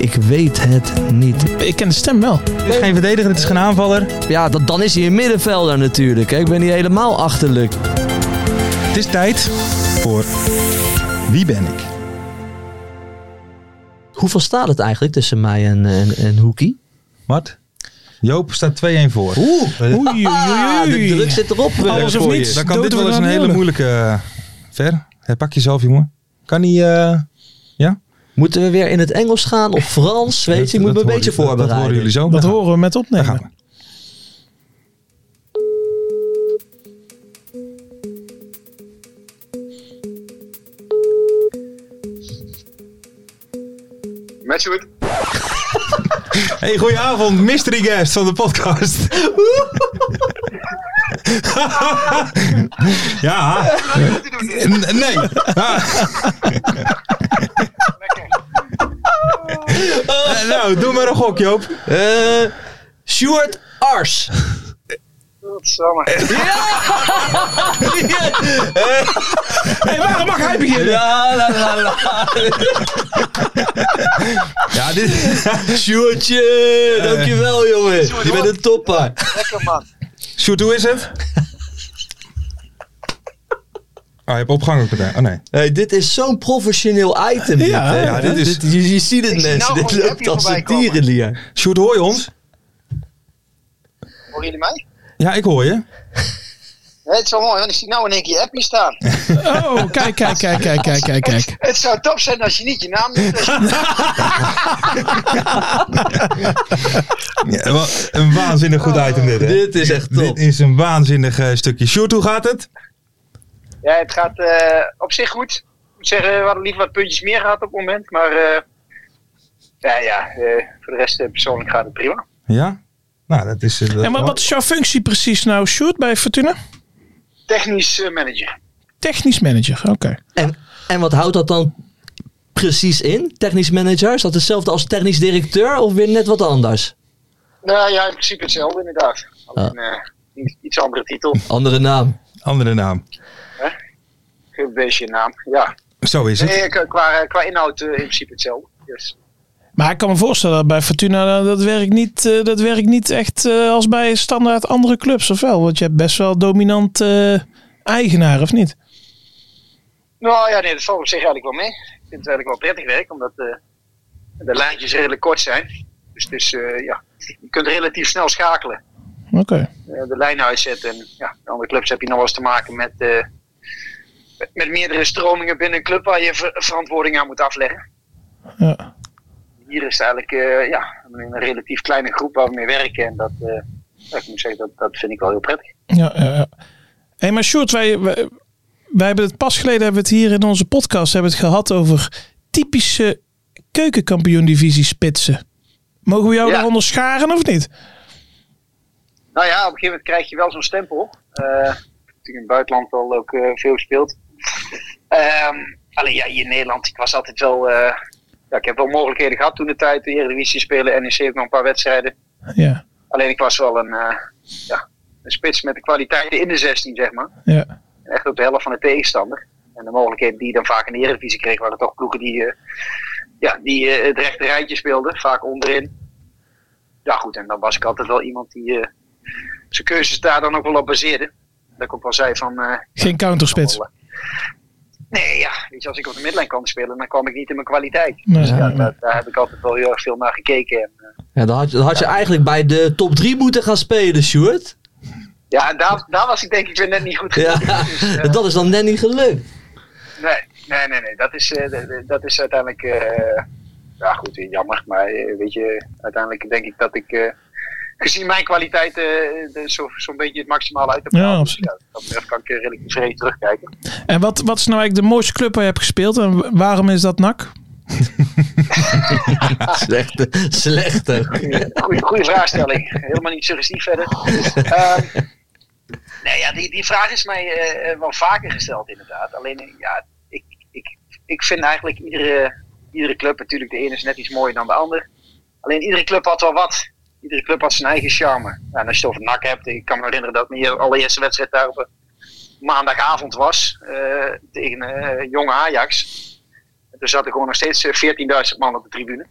Ik weet het niet. Ik ken de stem wel. Het is geen verdediger, het is geen aanvaller. Ja, dat, dan is hij een middenvelder natuurlijk. Hè. Ik ben niet helemaal achterlijk. Het is tijd voor Wie ben ik? Hoeveel staat het eigenlijk tussen mij en, en, en Hoekie? Wat? Joop staat 2-1 voor. Oeh, Oei, oei, Ah, oei, de oei. druk zit erop. eh, Alles of voor niets. je. Dan kan Dood dit wel wordt eens een aan hele Meulen. moeilijke... eh, Ver, herpak jezelf jongen. Kan hij... eh, Moeten we weer in het Engels gaan of Frans? Weet je, ik moet me dat een beetje horen- dat- voorbereiden. Dat horen jullie zo. Dat Daar horen we met opnemen. gaan we. Daar gaan Matchwood. we. Hey, goedenavond, mystery guest van de podcast. ja. Wat doe je? N- Nee. Ah. Eh, nou, doe maar een gok, Joop. Eh, Stuart Ars. Godsamme. Hey, waarom mag hij beginnen? La, la, la, la. Ja, dit, Sjoerdje, dankjewel jongen. Je bent een topper. Lekker man. Sjoerd, hoe is het? Oh, je hebt opgang ook meteen. Oh nee. Hey, dit is zo'n professioneel item. dit, Ja, hè? ja, dit is- je, je ziet het Ik zie mensen, nou dit gewoon een loopt appje als een voorbij komen. tierenlier. Sjoerd, hoor je ons? Horen jullie mij? Ja, ik hoor je. Nee, het is wel mooi, want ik zie nou in één keer appie staan. Oh, kijk, kijk, kijk, kijk, kijk, kijk, kijk. Het zou top zijn als je niet je naam noemt. als je- Ja, wat een waanzinnig goed Oh. item dit, hè? Dit is echt top. Dit is een waanzinnig eh, stukje. Sjoerd, hoe gaat het? Ja, het gaat eh, op zich goed. Ik moet zeggen, we hadden liever wat puntjes meer gehad op het moment. Maar eh, ja, ja eh, voor de rest eh, persoonlijk gaat het prima. Ja? Nou, dat is... eh, dat- En wat, wat is jouw functie precies nou, Sjoerd, bij Fortuna? Technisch eh, manager. Technisch manager, oké. En, en wat houdt dat dan precies in? Technisch manager? Is dat hetzelfde als technisch directeur of weer net wat anders? Nou ja, in principe hetzelfde inderdaad. Alleen, eh, iets- iets andere titel. Andere naam. Andere naam. Een beetje naam, ja. Zo is het. Nee, qua- qua, qua inhoud eh, in principe hetzelfde. Dus. Maar ik kan me voorstellen dat bij Fortuna eh, dat werkt niet, eh, dat werkt niet echt eh, als bij standaard andere clubs, of wel? Want je hebt best wel dominant eh, eigenaar, of niet? Nou ja, nee, dat valt op zich eigenlijk wel mee. Ik vind het eigenlijk wel prettig werk, omdat eh, de lijntjes redelijk kort zijn. Dus, het is, eh, ja, je kunt relatief snel schakelen. Oké. eh, de lijnen uitzetten. En ja, in andere clubs heb je nog wel eens te maken met, eh, met- met meerdere stromingen binnen een club waar je ver- verantwoording aan moet afleggen. Ja. Hier is het eigenlijk eh, ja, een relatief kleine groep waar we mee werken. En dat, eh, ja, ik moet zeggen, dat, dat vind ik wel heel prettig. Ja, ja, ja. Hé, maar Sjoerd, wij, wij, wij hebben het pas geleden hebben we het hier in onze podcast hebben we het gehad over typische keukenkampioen-divisie spitsen. Mogen we jou Ja. daaronder scharen of niet? Nou ja, op een gegeven moment krijg je wel zo'n stempel. Eh, natuurlijk in het buitenland al ook eh, veel gespeeld. Ehm, alleen ja, hier in Nederland, ik was altijd wel... eh, ja, ik heb wel mogelijkheden gehad toen de tijd. eh, De Eredivisie spelen, NEC heeft nog een paar wedstrijden. Ja, Alleen ik was wel een, eh, ja, een spits met de kwaliteiten in de 16, zeg maar. ja. En Echt op de helft van de tegenstander. En de mogelijkheden die je dan vaak in de Eredivisie kreeg, waren toch ploegen die, eh, ja, die eh, het rechte rijtje speelden, vaak onderin. Ja, goed, en dan was ik altijd wel iemand die eh, zijn keuzes daar dan ook wel op baseerde. Dat ik ook wel zei van. eh, Geen counterspits. wel, eh, Nee, ja. Weet je, als ik op de midlijn kwam spelen, dan kwam ik niet in mijn kwaliteit. Dus Nee, Ja, nee, nee. daar, daar heb ik altijd wel heel erg veel naar gekeken. En, eh, Ja, dan had, je- dan had je eigenlijk bij de top 3 moeten gaan spelen, Sjoerd. ja, en daar, daar was ik denk ik weer net niet goed Ja, genoeg. Dus, eh, dat is dan net niet gelukt. Nee, nee, nee, nee. Dat, is, eh, d- d- dat is uiteindelijk. eh, ja, goed, eh, jammer. Maar eh, weet je, uiteindelijk denk ik dat ik. eh, gezien mijn kwaliteit. eh, de- zo- zo'n beetje het maximale uit heb Ja, gehaald. absoluut. Dus ja, dat betreft kan ik eh, redelijk tevreden terugkijken. En wat, wat is nou eigenlijk de mooiste club waar je hebt gespeeld en wa- waarom is dat NAC? Slechte, slechte. Goeie, goeie vraagstelling. Helemaal niet suggestief verder. Ehm, nee, ja, die, die vraag is mij eh, eh, wel vaker gesteld, inderdaad. Alleen, eh, ja, ik, ik, ik vind eigenlijk iedere, iedere club, natuurlijk, de ene is net iets mooier dan de ander. Alleen iedere club had wel wat. Iedere club had zijn eigen charme. Nou, en als je het over NAC hebt, ik kan me herinneren dat mijn allereerste wedstrijd daar op een maandagavond was. eh, tegen eh, jonge Ajax. En toen zaten gewoon nog steeds eh, 14.000 man op de tribune.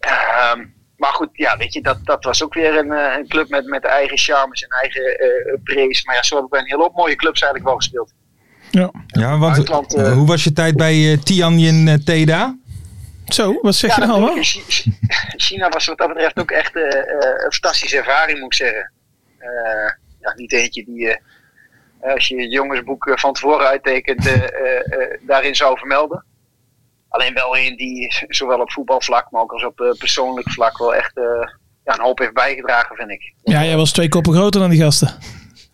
Ehm, maar goed, ja, weet je, dat, dat was ook weer een, eh, een club met, met eigen charmes en eigen eh praise. Maar ja, zo heb ik bij een hele hoop mooie clubs eigenlijk wel gespeeld. Ja. Ja, want Uitland, eh, hoe was je tijd bij eh Tianjin eh, Teda? Zo, wat zeg Ja, je nou natuurlijk, allemaal? Chi- Chi- China was wat dat betreft ook echt eh, eh, een fantastische ervaring, moet ik zeggen. Eh, ja, niet eentje die, eh, als je het jongensboek eh, van tevoren uittekent, eh, eh, eh, daarin zou vermelden. Alleen wel een die z- zowel op voetbalvlak, maar ook als op eh, persoonlijk vlak wel echt eh, ja, een hoop heeft bijgedragen, vind ik. Ja, jij was twee koppen groter dan die gasten.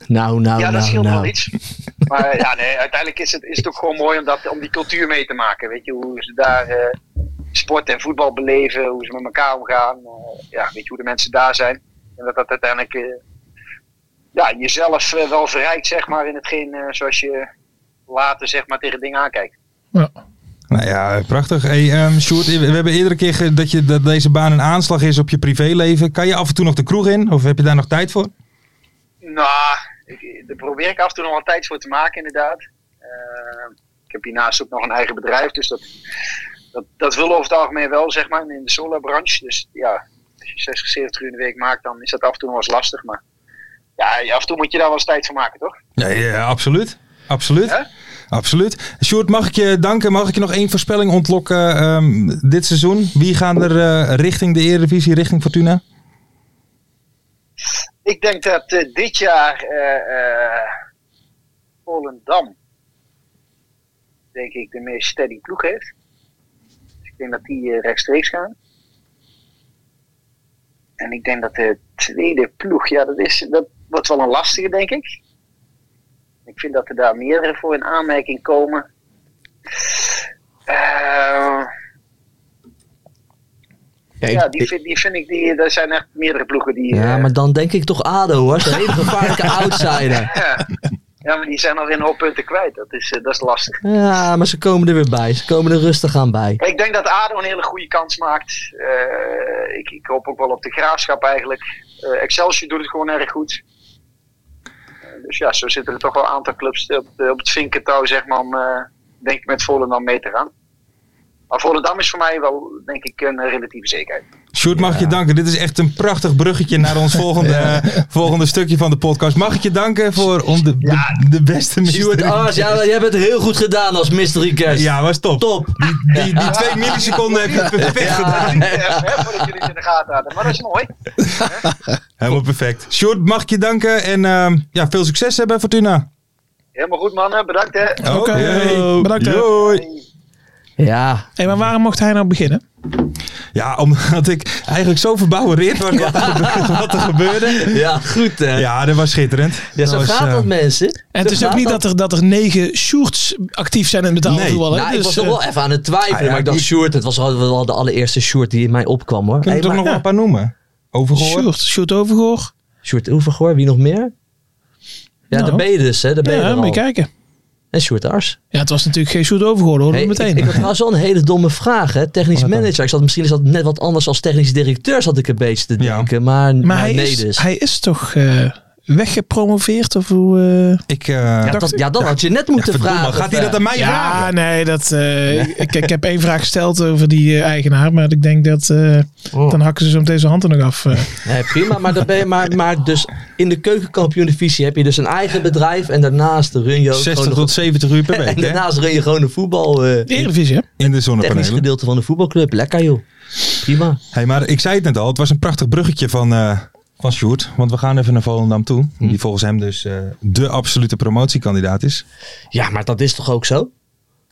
Nou, nou, Ja, dat nou, scheelt wel nou. iets. Maar eh, ja, nee, uiteindelijk is het, is het ook gewoon mooi om, dat, om die cultuur mee te maken. Weet je, hoe ze daar eh, sport en voetbal beleven, hoe ze met elkaar omgaan. eh, ja, weet je hoe de mensen daar zijn. En dat dat uiteindelijk eh, ja, jezelf eh, wel verrijkt, zeg maar, in hetgeen eh, zoals je later zeg maar, tegen dingen aankijkt. Nou ja, prachtig. Hey, ehm Sjoerd, we hebben eerdere keer ge- dat, je, dat deze baan een aanslag is op je privéleven. Kan je af en toe nog de kroeg in? Of heb je daar nog tijd voor? Nou, ik- daar probeer ik af en toe nog wat tijd voor te maken, inderdaad. Eh, ik heb hiernaast ook nog een eigen bedrijf, dus dat, dat, dat wil over het algemeen wel, zeg maar, in de solarbranche. Dus ja, als je 60, 70 uur in de week maakt, dan is dat af en toe nog eens lastig. Maar ja, af en toe moet je daar wel eens tijd voor maken, toch? Nee, ja, absoluut. Absoluut. Ja? Absoluut. Sjoerd, mag ik je danken? Mag ik je nog één voorspelling ontlokken ehm, dit seizoen? Wie gaan er eh, richting de Eredivisie, richting Fortuna? Ik denk dat eh, dit jaar eh, eh, Volendam, denk ik, de meest steady ploeg heeft. Dus ik denk dat die eh, rechtstreeks gaan. En ik denk dat de tweede ploeg, ja, dat, is, dat wordt wel een lastige, denk ik. Ik vind dat er daar meerdere voor in aanmerking komen. Eh, ja, die vind, die vind ik, die, daar zijn echt meerdere ploegen die... Ja, eh, maar dan denk ik toch ADO hoor. Dat is een hele gevaarlijke outsider. Ja. ja, maar die zijn alweer een hoop punten kwijt. Dat is, eh, dat is lastig. Ja, maar ze komen er weer bij. Ze komen er rustig aan bij. Ik denk dat ADO een hele goede kans maakt. Eh, ik, ik hoop ook wel op de graafschap eigenlijk. Eh, Excelsior doet het gewoon erg goed. Eh, dus ja, zo zitten er toch wel een aantal clubs op, de- op het vinkentouw, zeg maar, om eh, denk ik met Volendam mee te gaan. Maar Volendam is voor mij wel, denk ik, een relatieve zekerheid. Sjoerd, mag ik je danken? Dit is echt een prachtig bruggetje naar ons volgende, eh, volgende stukje van de podcast. Mag ik je danken voor om de, de, de beste Stuart mystery... Ars, ah, ja, jij hebt het heel goed gedaan als mystery guest. Ja, was top. Top. Die, die, die twee milliseconden heb je perfect gedaan. Ja, hè, voordat jullie het in de gaten hadden. Maar dat is mooi. Helemaal perfect. Sjoerd, mag ik je danken en ehm, ja, veel succes hè, bij Fortuna. Helemaal goed, mannen. Bedankt, hè. Oké, bedankt, hè. Doei. Ja. Hé, maar waarom mocht hij nou beginnen? Ja, omdat ik eigenlijk zo verbouwereerd was wat, er gebeurde, wat er gebeurde. Ja, goed hè. Ja, Ja, dat was schitterend. zo was, gaat eh, dat mensen. En het is ook niet dat er, dat er negen Sjoerds actief zijn in het betaalde Nee. voetbal. hè? Nou, ik Dus, was er eh, wel even aan het twijfelen, ah, ja, maar ik dacht, die- Sjoerd, het was al wel de allereerste Sjoerd die in mij opkwam hoor. Kun je Hey, er toch maar- nog wel een paar noemen? Overgehoord? Sjoerd, Sjoerd Overgoor. Sjoerd Oevergoor, wie nog meer? Ja, Nou. daar ben je dus, hè. Daar ben je Ja, er moet je al. kijken. En Sjoerd Ars. Ja, het was natuurlijk geen Sjoerd Overgoor, hoor. Hey, meteen. Oh, Ik, ik had trouwens wel een hele domme vraag, hè. Technisch manager. Ik zat, misschien is dat net wat anders als technisch directeur, zat ik een beetje te Ja. denken. Maar, maar maar hij, nee is, dus. hij is toch eh, weggepromoveerd of hoe... eh? Ik, eh, ja, dat, ja, dat had je net ja, moeten verdomme, vragen. gaat hij of, dat aan mij Ja, vragen? nee, dat, eh, ik, ik heb één vraag gesteld over die eh, eigenaar, maar ik denk dat eh, Oh. dan hakken ze zo meteen zijn hand er nog af. eh. Nee, prima, maar, dan ben je, maar, maar dus in de keukenkampioen-divisie heb je dus een eigen bedrijf en daarnaast run je ook 60 gewoon tot 70 uur per nog, week en hè? daarnaast run je gewoon een voetbal eh, de Eredivisie, hè? in de technisch zonnepanelen. gedeelte van de voetbalclub. Lekker joh. Prima. Hey, maar ik zei het net al, het was een prachtig bruggetje van, eh van Sjoerd. Want we gaan even naar Volendam toe. Hm. Die volgens hem dus eh, de absolute promotiekandidaat is. Ja, maar dat is toch ook zo?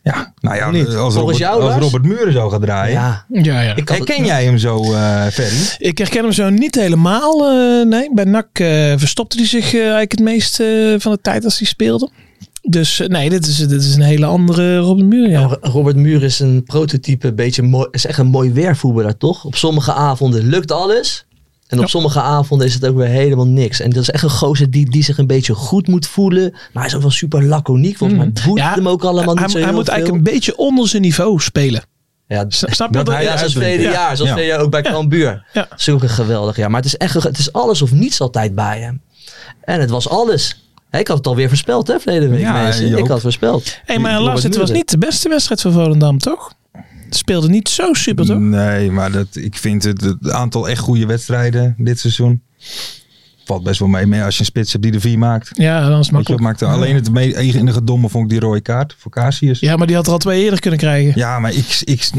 Ja, nou ja, Of niet? als Volgens Robert, jou, als Lars? Robert Muren zo gaat draaien. Ja. Ja, ja. Ik had Herken jij hem zo, eh Ferry? Ik herken hem zo niet helemaal. eh, nee, bij NAC eh, verstopte hij zich eh, eigenlijk het meest eh, van de tijd als hij speelde. Dus eh, nee, dit is, dit is een hele andere Robin Muur. Ja. Ja, Robert Muur is een prototype, een beetje mooi, is echt een mooi weervoetballer, toch? Op sommige avonden lukt alles. En op Ja. sommige avonden is het ook weer helemaal niks. En dat is echt een gozer die, die zich een beetje goed moet voelen. Maar hij is ook wel super laconiek. Volgens mij boeit Mm. Ja, het hem ook allemaal hij niet zo hij heel moet veel. eigenlijk een beetje onder zijn niveau spelen. Ja, S- Snap je Dat wat hij ik- ja, zoals uitblinkt. tweede Ja. jaar. Zoals Ja. tweede jaar ook bij Cambuur. Ja. Zulke geweldig. Ja, maar het is, echt, een ge- het is alles of niets altijd bij hem. En het was alles. Hé, Ik had het alweer voorspeld, hè, verleden week, Ja, mensen. Joop. Ik had het voorspeld. Hey, maar Robert Lars, het was Muren. niet de beste wedstrijd van Volendam, toch? Speelde niet zo super, toch? Nee, maar dat, ik vind het, het aantal echt goede wedstrijden dit seizoen valt best wel mee. Maar ja, als je een spits hebt die er vier maakt. Ja, dan is het Weet je, makkelijk. wat maakt er alleen het me- enige domme vond ik die rode kaart voor Casius. Ja, maar die had er al twee eerder kunnen krijgen. Ja, maar ik, ik,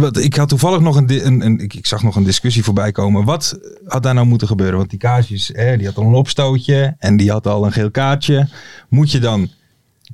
wat, ik had toevallig nog een, di- een, een ik, ik zag nog een discussie voorbij komen. Wat had daar nou moeten gebeuren? Want die Casius, hè, die had al een opstootje en die had al een geel kaartje. Moet je dan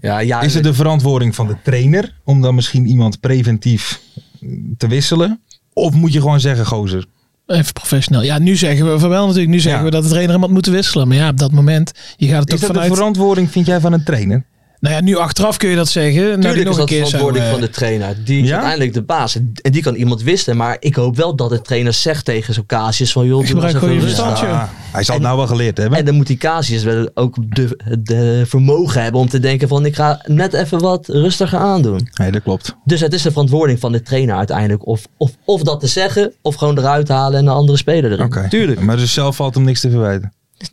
Ja, ja, is het de verantwoording van de trainer om dan misschien iemand preventief mm, te wisselen? Of moet je gewoon zeggen, gozer? Even professioneel. Ja, nu zeggen we van wel natuurlijk. Nu zeggen Ja. we dat de trainer iemand moet wisselen. Maar ja, op dat moment. Je gaat het Is toch dat vanuit. de verantwoording, vind jij, van een trainer? Nou ja, nu achteraf kun je dat zeggen. Nou, die Natuurlijk nog is dat een de keer zou, verantwoording eh, van de trainer. Die is Ja? uiteindelijk de baas. En en die kan iemand wisselen. Maar ik hoop wel dat de trainer zegt tegen zo'n Casius van... joh, doe Gebruik eens even gewoon je rustig. verstand, joh. Ah, hij zal het nou wel geleerd hebben. En dan moet die Casius wel ook de, de vermogen hebben om te denken van... ik ga net even wat rustiger aandoen. Nee, dat klopt. Dus het is de verantwoording van de trainer uiteindelijk. Of, of, of dat te zeggen, of gewoon eruit halen en een andere speler erin. Oké. Tuurlijk. Maar dus zelf valt hem niks te verwijten.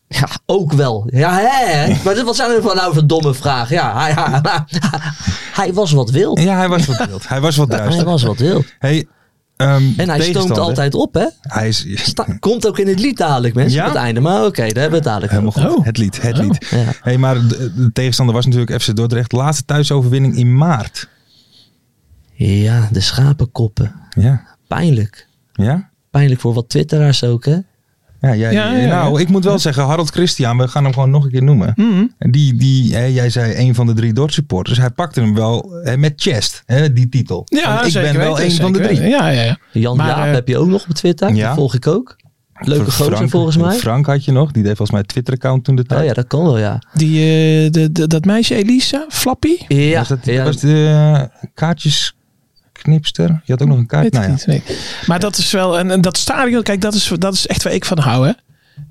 Ja, ook wel. Ja, hè? Maar dit- wat zijn er van nou voor domme vragen? Ja, hij, hij, hij was wat wild. Ja, hij was wat wild. Hij was wat Hij duister. was wat wild. Hey, ehm, En hij stoomt tegenstander. altijd op, hè? Hij is Sta- komt ook in het lied dadelijk, mensen. Ja? Op het einde. Maar oké, daar hebben we het dadelijk helemaal over. goed. Het lied, het Oh. lied. Ja. Hey, maar de, de tegenstander was natuurlijk FC Dordrecht. Laatste thuisoverwinning in maart. Ja, de schapenkoppen. Ja. Pijnlijk. Ja? Pijnlijk voor wat twitteraars ook, hè? Ja, jij, Ja, ja, Mhm. nou, ik moet wel zeggen, Harold Christian, we gaan hem gewoon nog een keer noemen. Die, die hè, jij zei een van de drie Dort supporters. Hij pakte hem wel hè, met chest, hè, die titel. Ja, Van, ik zeker ben wel weten, een van de zeker drie. weten. Ja, ja, ja. Jan Maar, Jaap eh, heb je ook nog op Twitter. ja. Die volg ik ook. Leuke Frank- gozer volgens mij. Frank had je nog, die deed volgens mij een Twitter-account toen de tijd. Oh ja, dat kan wel, ja. Die, eh, de, de- dat meisje Elisa, Flappy? Ja, was dat ja. was de eh, kaartjesknipster? Je had ook nog een kaart. Weet Nou ik ja. niet. weet ik. Maar dat is wel, en, en dat stadion, kijk, dat is, dat is echt waar ik van hou, hè?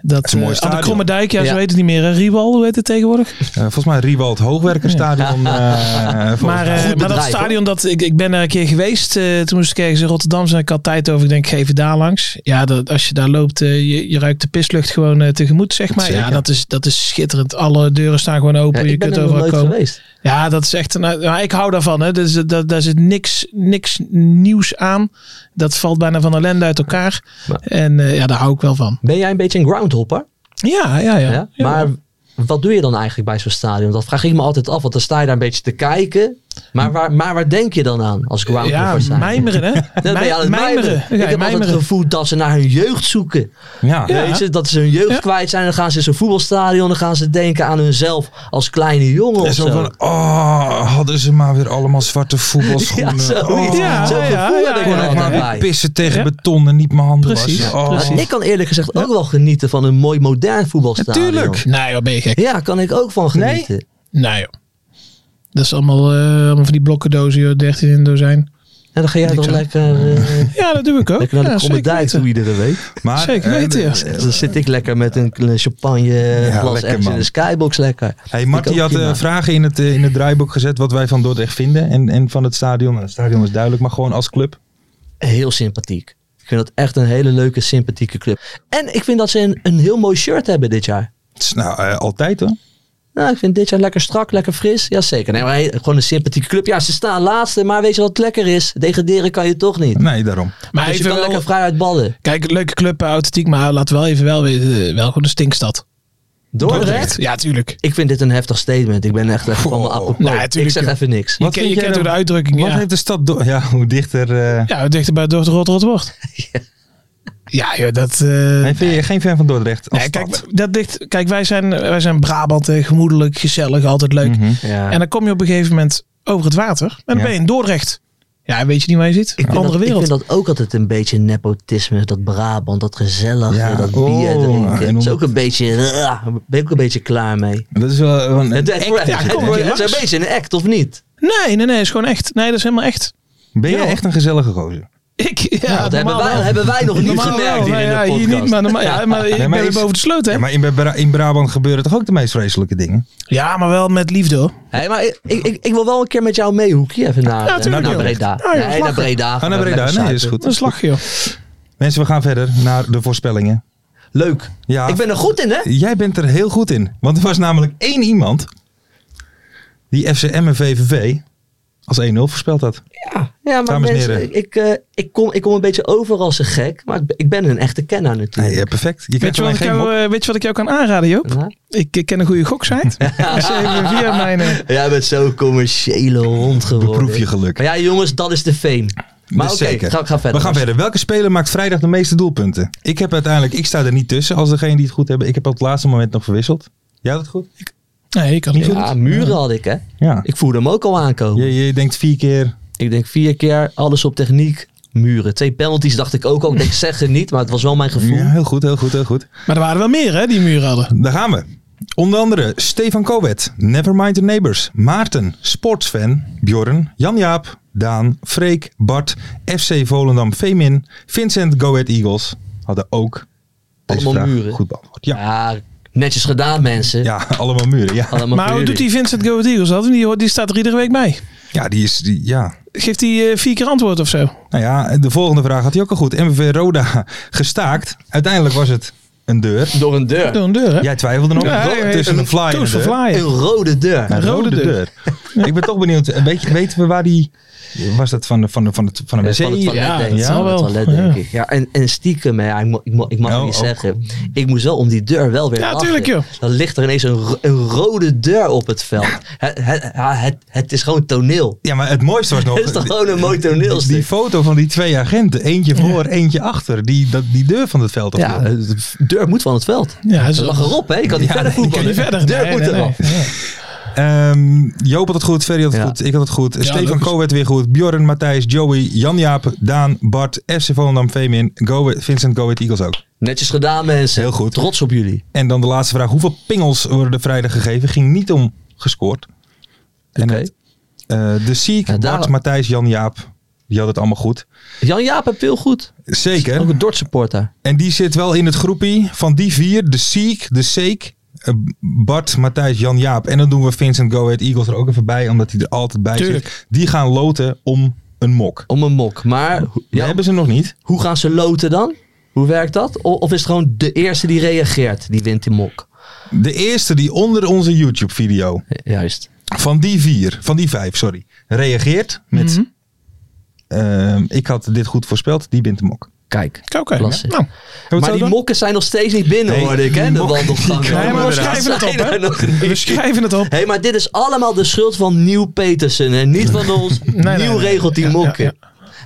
Dat is een eh, mooi aan de stadion. Kromme Dijk, ja, Ja. zo heet het niet meer. hè. Riewal, hoe heet het tegenwoordig? Eh, volgens mij Riewald Hoogwerkerstadion. eh, volgens Maar, mij. eh, Goed maar dat bedrijf, stadion, dat, ik, ik ben er een keer geweest. eh, toen moest ik ergens in Rotterdam zijn. Ik had tijd over. Ik denk, geef het daar langs. Ja, dat, als je daar loopt, eh, je, je ruikt de pislucht gewoon eh, tegemoet, zeg maar. Ja, Zeker. dat is, dat is schitterend. Alle deuren staan gewoon Ja, open. je ik ben kunt er nog overal nooit komen. geweest. Ja, dat is echt. Nou, nou, ik hou daarvan. Hè. Dus, eh, dat, daar zit niks, niks nieuws aan. Dat valt bijna van ellende uit elkaar. Maar- En eh, ja, daar hou ik wel van. Ben jij een beetje een groundhopper? Ja, ja, ja. Ja, ja. Maar wat doe je dan eigenlijk bij zo'n stadion? Dat vraag ik me altijd af. Want dan sta je daar een beetje te kijken. Maar waar, maar waar denk je dan aan als ja, groundhopper? zijn? mijmeren, hè? Dan ben je aan het mijmeren. mijmeren. Ja, Ik heb altijd het mijmeren. gevoel dat ze naar hun jeugd zoeken. ja. Ja. Weet je, dat ze hun jeugd Ja. kwijt zijn. Dan gaan ze in zo'n voetbalstadion. Dan gaan ze denken aan hunzelf als kleine jongen En of zo zo. van, oh, hadden ze maar weer allemaal zwarte voetbalschoenen. Ja, zoiets. Oh, Ja, Zo'n nou, ja, gevoel ja, heb ik ja, er ja, kon ik maar altijd weer bij. pissen tegen Ja. beton en niet mijn handen Precies, wassen. Oh. precies. Ik kan eerlijk gezegd ook wel genieten van een mooi modern voetbalstadion. Tuurlijk. Nee, wat ben je gek? Ja, kan ik ook van genieten. Nee, joh. Dat is allemaal, eh, allemaal van die blokkendozen, joh, 13 in een dozijn. En dan ga jij Ik dan zou- lekker, eh, Ja, dat doe ik ook. lekker naar de ja, Kromme zeker Dijk weten. toe iedere week. Maar, Zeker eh, weten, ja. Dan zit ik lekker met een klein champagne Ja, glas lekker, ergens in man. de skybox lekker. Hey, Marty Ik ook had eh, prima. vragen in het, eh, in het draaiboek gezet wat wij van Dordrecht vinden en, en van het stadion. Nou, het stadion is duidelijk, maar gewoon als club. Heel sympathiek. Ik vind dat echt een hele leuke, sympathieke club. En ik vind dat ze een, een heel mooi shirt hebben dit jaar. Het is, nou, eh, altijd hoor. Nou, ik vind dit jaar lekker strak, lekker fris. Jazeker. Nee, maar hey, gewoon een sympathieke club. Ja, ze staan laatste, maar weet je wat lekker is? Degraderen kan je toch niet. Nee, daarom. Maar dus je even kan wel, lekker vrij uit ballen. Kijk, leuke club, eh, authentiek, maar laten we wel even wel weten, eh, wel gewoon een stinkstad. Dordrecht? Ja, tuurlijk. Ik vind dit een heftig statement. Ik ben echt echt van mijn Goh. apropos. Oh, Nee, ik tuurlijk, zeg joh. even niks. Je, Wat ken, vind je jij kent door de dan- uitdrukking, Wat ja. heeft de stad... Do- ja, hoe dichter... eh, Ja, hoe dichter bij Dordt Rotterdam wordt. Ja, joh, dat... eh, nee, vind je geen fan van Dordrecht als nee, stad? kijk, dat dicht, kijk wij, zijn, wij zijn Brabant, eh, gemoedelijk, gezellig, altijd leuk. Mhm. Ja. En dan kom je op een gegeven moment over het water en dan Ja. ben je in Dordrecht. Ja, weet je niet waar je zit? Ik vind, Andere dat, wereld. ik vind dat ook altijd een beetje nepotisme. Dat Brabant, dat gezellig, Ja, dat bier oh, en drinken. Dat is onder- ook een beetje... eh, ben ik ook een beetje klaar mee. Dat is wel... eh, Een, Het, het, act, het- is het, het- hè? maar. het is een beetje een act, of niet? Nee, nee, nee, is gewoon echt. Nee, dat is helemaal echt. Ben je Ja. echt een gezellige gozer? Ik, ja, Ja, dat hebben normaal wij, wel. hebben wij nog niet Normaal gemerkt wel. hier Nou in ja, de podcast. Hier niet, maar, normaal- ja, maar ik maar ben weer is- boven de sloot, hè? Ja, maar in, Bra- in Brabant gebeuren toch ook de meest vreselijke dingen? Ja, maar wel met liefde, hoor. Hey, maar ik, ik, ik- ik wil wel een keer met jou mee, Hoekje. Even naar, eh, Ja, tuurlijk, naar joh. Breda. Ja, joh, nee, naar lachen. Breda. Ga naar Lekker Breda. Nee, zuipen. is goed. Dat is lachje, joh. Mensen, we gaan verder naar de voorspellingen. Leuk. Ja, Ik ben er goed in, hè? jij bent er heel goed in. Want er was namelijk één iemand die FCM en VVV als 1-0 voorspeld had. Ja, maar Dames en mensen, heren. ik, eh, ik, kom, ik kom een beetje over als een gek, maar ik ben- ik ben een echte kenner natuurlijk. Ja, perfect. Je Weet krijgt je, wat alleen ik geen mop. jou, eh, weet je wat ik jou kan aanraden, Joop? Ik eh, ken een goede goksite. dus even via mijn... eh, Jij bent zo'n commerciële hond geworden. Beproef je geluk. Maar ja, jongens, dat is de fame. Maar Dus oké, zeker. ga, ga verder. We gaan verder. Welke speler maakt vrijdag de meeste doelpunten? Ik heb uiteindelijk, ik sta er niet tussen als degene die het goed hebben. Ik heb op het laatste moment nog verwisseld. Jij had het goed? Nee, ik had niet. Ja, muren had ik, hè. Ja. Ik voelde hem ook al aankomen. Je, je denkt vier keer. Ik denk vier keer, alles op techniek, muren. Twee penalties dacht ik ook al. Ik denk, zeg het niet, maar het was wel mijn gevoel. Ja, heel goed, heel goed, heel goed. Maar er waren wel meer, hè, die muren hadden. Daar gaan we. Onder andere Stefan Kowet, Nevermind the Neighbors, Maarten, Sportsfan, Bjorn, Jan-Jaap, Daan, Freek, Bart, FC Volendam, Femin, Vincent, Go Ahead Eagles hadden ook deze Allemaal vraag muren. goed beantwoord. Ja, Ja, netjes gedaan, mensen. ja, allemaal muren. Ja, Allemaal Maar voor hoe doet jullie. die Vincent Go Ahead Eagles dat? Die, hoort- die staat er iedere week bij. ja die is, die, ja. Geeft hij eh, vier keer antwoord of zo? Nou ja, de volgende vraag had hij ook al goed. MVV Roda gestaakt. Uiteindelijk was het een deur. Door een deur. Door een deur, hè? Jij twijfelde nog. Ja, ja, ja, Het is een fly en Toast een for deur. Flyer. Een rode deur. Een rode, Rode deur. Ik ben toch benieuwd. eh, Weet je, weten we waar die... Was dat van de, van de, van de, van de wc? Van het toilet, ja, denk ik. dat zal Van het wel. toilet, denk Ja. Nou, ik. Ja, en, en stiekem, hè, ik, mo- ik, mo- ik mag Oh, het niet ook. zeggen. Ik moest wel om die deur wel weer Ja, lachen. tuurlijk, joh. Dan ligt er ineens een, ro- een rode deur op het veld. Het, het, ja, het, het is gewoon toneel. Oh, Ja, maar het mooiste was nog... Het is toch gewoon een mooi toneelstuk? Die foto van die twee agenten. Eentje voor, eentje achter. Die, dat, die deur van het veld. Ja, ophielden. de deur moet van het veld. Ja, Ze ze lag erop, hè? Ik kan niet Ja, verder nee, ik voetballen. kan niet verder. deur Nee, moet nee, nee. eraf. Ehm, Joop had het goed, Ferry had het Ja. goed, ik had het goed. Stefan logisch. Ko werd weer goed. Bjorn, Matthijs, Joey, Jan-Jaap, Daan, Bart, FC Volendam, Vemin, Go Ahead- Vincent Go Ahead Eagles ook. Netjes gedaan, mensen. Heel goed. Trots op jullie. En dan de laatste vraag. Hoeveel pingels worden er vrijdag gegeven? Ging niet om gescoord. En Oké. het, eh, de Siek, Ja, daar- Bart, Matthijs, Jan-Jaap, die had het allemaal goed. Jan-Jaap heeft veel goed. Ook Zeker. een Dort supporter. En die zit wel in het groepie van die vier. De Siek, de Seek, eh, Bart, Matthijs, Jan-Jaap. En dan doen we Vincent Go Ahead Eagles er ook even bij. Omdat hij er altijd bij zit. Tuurlijk. Die gaan loten om een mok. Om een mok. Maar ho- Die ja, hebben ze nog niet. hoe gaan ze loten dan? Hoe werkt dat? O- Of is het gewoon de eerste die reageert, die wint die mok? De eerste die onder onze YouTube video Juist. van die vier, van die vijf, sorry, reageert met... Mhm. ehm, ik had dit goed voorspeld, die wint de mok. Kijk. Oké. Klasse. Nou, maar die mok mokken zijn nog steeds niet binnen, Nee, hoorde ik, hè? die De mokken- wandelgang. die komen nee, maar we Inderdaad. schrijven het op, Zijn er hè? nog niet. We schrijven het op. Hé, maar dit is allemaal de schuld van Nieuw Petersen en niet van ons. nee, Nieuw nee. regelt die Ja, ja, mokken.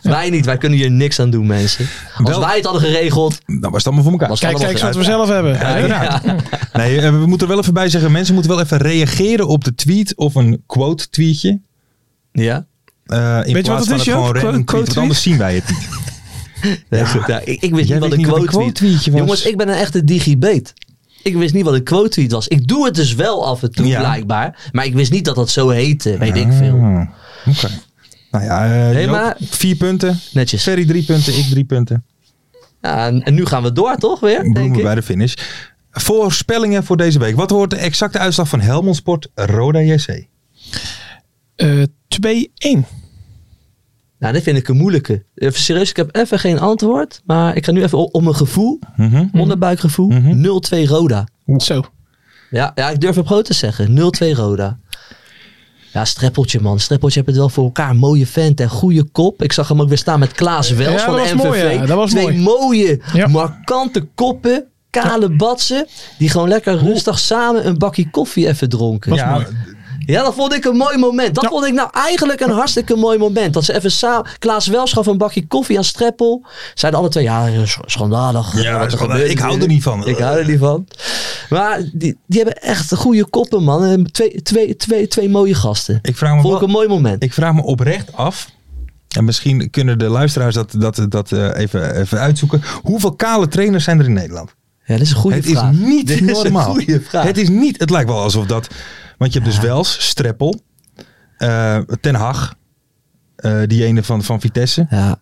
Wij niet, wij kunnen hier niks aan doen, mensen. Als Wel- wij het hadden geregeld, Dan was het allemaal voor elkaar. was het Kijk, allemaal kijk eens wat we gedaan. zelf hebben. Hè? Uiteraard. Nee, eh, we moeten er wel even bij zeggen, mensen moeten wel even reageren op de tweet of een quote tweetje. Ja? Eh, in wat plaats het van is, het gewoon Joop? random tweet, want Quote- quote anders zien wij het niet. Nee, goed, Dus, ja, ik, ik wist Jij niet wat weet een niet wat een quote tweet quote-tweetje was. Jongens, ik ben een echte digibet. Ik wist niet wat een quote tweet was. Ik doe het dus wel af en toe, Ja. blijkbaar. Maar ik wist niet dat dat zo heette. Weet ik veel. Ah, Oké. Nou ja, eh Joop, maar- vier punten. Netjes. Ferry drie punten, ik drie punten. Ja, en, en nu gaan we door, toch weer? Denk Bloemen ik. bij de finish. Voorspellingen voor deze week. Wat wordt de exacte uitslag van Helmond Sport Roda JC? Eh, 2-1. Nou, dit vind ik een moeilijke. Even serieus, ik heb even geen antwoord. Maar ik ga nu even o- om mijn gevoel. Mhm. Onderbuikgevoel. 0-2 Roda. Zo. Ja, ja, ik durf hem groot te zeggen. 0-2 Roda. Ja, Streppeltje man. Streppeltje heeft het wel voor elkaar. Mooie vent en goede kop. Ik zag hem ook weer staan met Klaas Wels Ja, van dat was MVV. mooi, ja. Dat was Twee mooi. mooie, Ja. markante koppen. Kale batsen. Die gewoon lekker rustig samen een bakje koffie even dronken. ja, Ja, dat vond ik een mooi moment. Dat vond ik nou eigenlijk een hartstikke mooi moment. Dat ze even samen... Klaas Wels gaf een bakje koffie aan Streppel. Zeiden alle twee, ja, sch- schandalig. Ja, Wat er schandalig. gebeurt Ik hou er natuurlijk. niet van. Ik hou er niet van. Maar die, die hebben echt goede koppen, man. En Twee, twee, twee, twee mooie gasten. ik vraag me Vond wel- ik een mooi moment. Ik vraag me oprecht af. En misschien kunnen de luisteraars dat, dat, dat eh, even, even uitzoeken. Hoeveel kale trainers zijn er in Nederland? Ja, dat is een goede het vraag. is niet Dit is een normaal. goede vraag. Het is niet. Het lijkt wel alsof dat. Want je hebt dus Wels, Streppel, eh, Ten Hag, eh, die ene van, van Vitesse. Ja.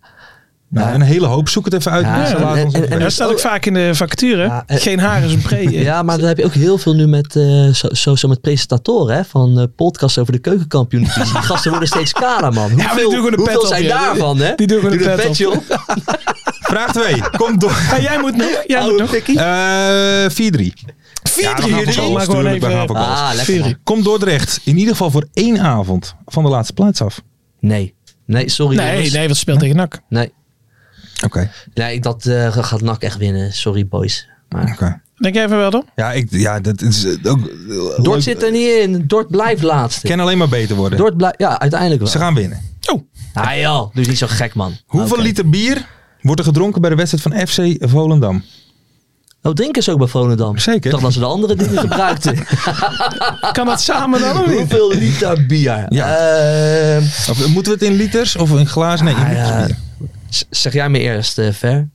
Nou, Ja. een hele hoop. Zoek het even uit. Ja, mensen. en- Laat en- ons en- het en- Dat weten. staat ook vaak in de facturen. dus- Ja, eh, Geen haar is een pre. eh. Ja, maar dan heb je ook heel veel nu met, eh, zo, zo, zo met presentatoren hè, van eh, podcasts over de keukenkampioen. Die gasten worden steeds kaler, man. maar die Hoeveel, doen gewoon de pet hoeveel op, zijn ja. daarvan, hè? Die doen gewoon de Doe pet petje op. Vraag 2. Kom door. Ja, Ah, jij moet nog. Jij moet Oude nog. pikkie. Eh 4-3. Ja, we gaan voor goals, Maar gewoon tuurlijk, we even- gaan voor goals. Ah, lekker. Serie. man. Kom Dordrecht in ieder geval voor één avond van de laatste plaats af. Nee. Nee, sorry. Nee, jongens. nee, wat speelt tegen NAC? Nee. Oké. Nee, dat eh, gaat NAC echt winnen. Sorry, boys. Maar... Denk jij even wel dan? Ja, ik, ja dat is eh, ook... Dort zit er niet in. Dort blijft laatste. Kan alleen maar beter worden. Dort blijft... Ja, uiteindelijk wel. Ze gaan winnen. Ah joh, dus niet zo gek, man. Hoeveel Oké. liter bier wordt er gedronken bij de wedstrijd van FC Volendam? Oh, drinken ze ook bij Volendam? Zeker. Ik dacht dat ze de andere dingen gebruikten. Kan dat samen dan of niet? Hoeveel liter bier? Ja. Ehm, Of, moeten we het in liters of in glaas? Nee, in Ah, liters ja. bier. z- zeg jij me eerst, eh, Fer.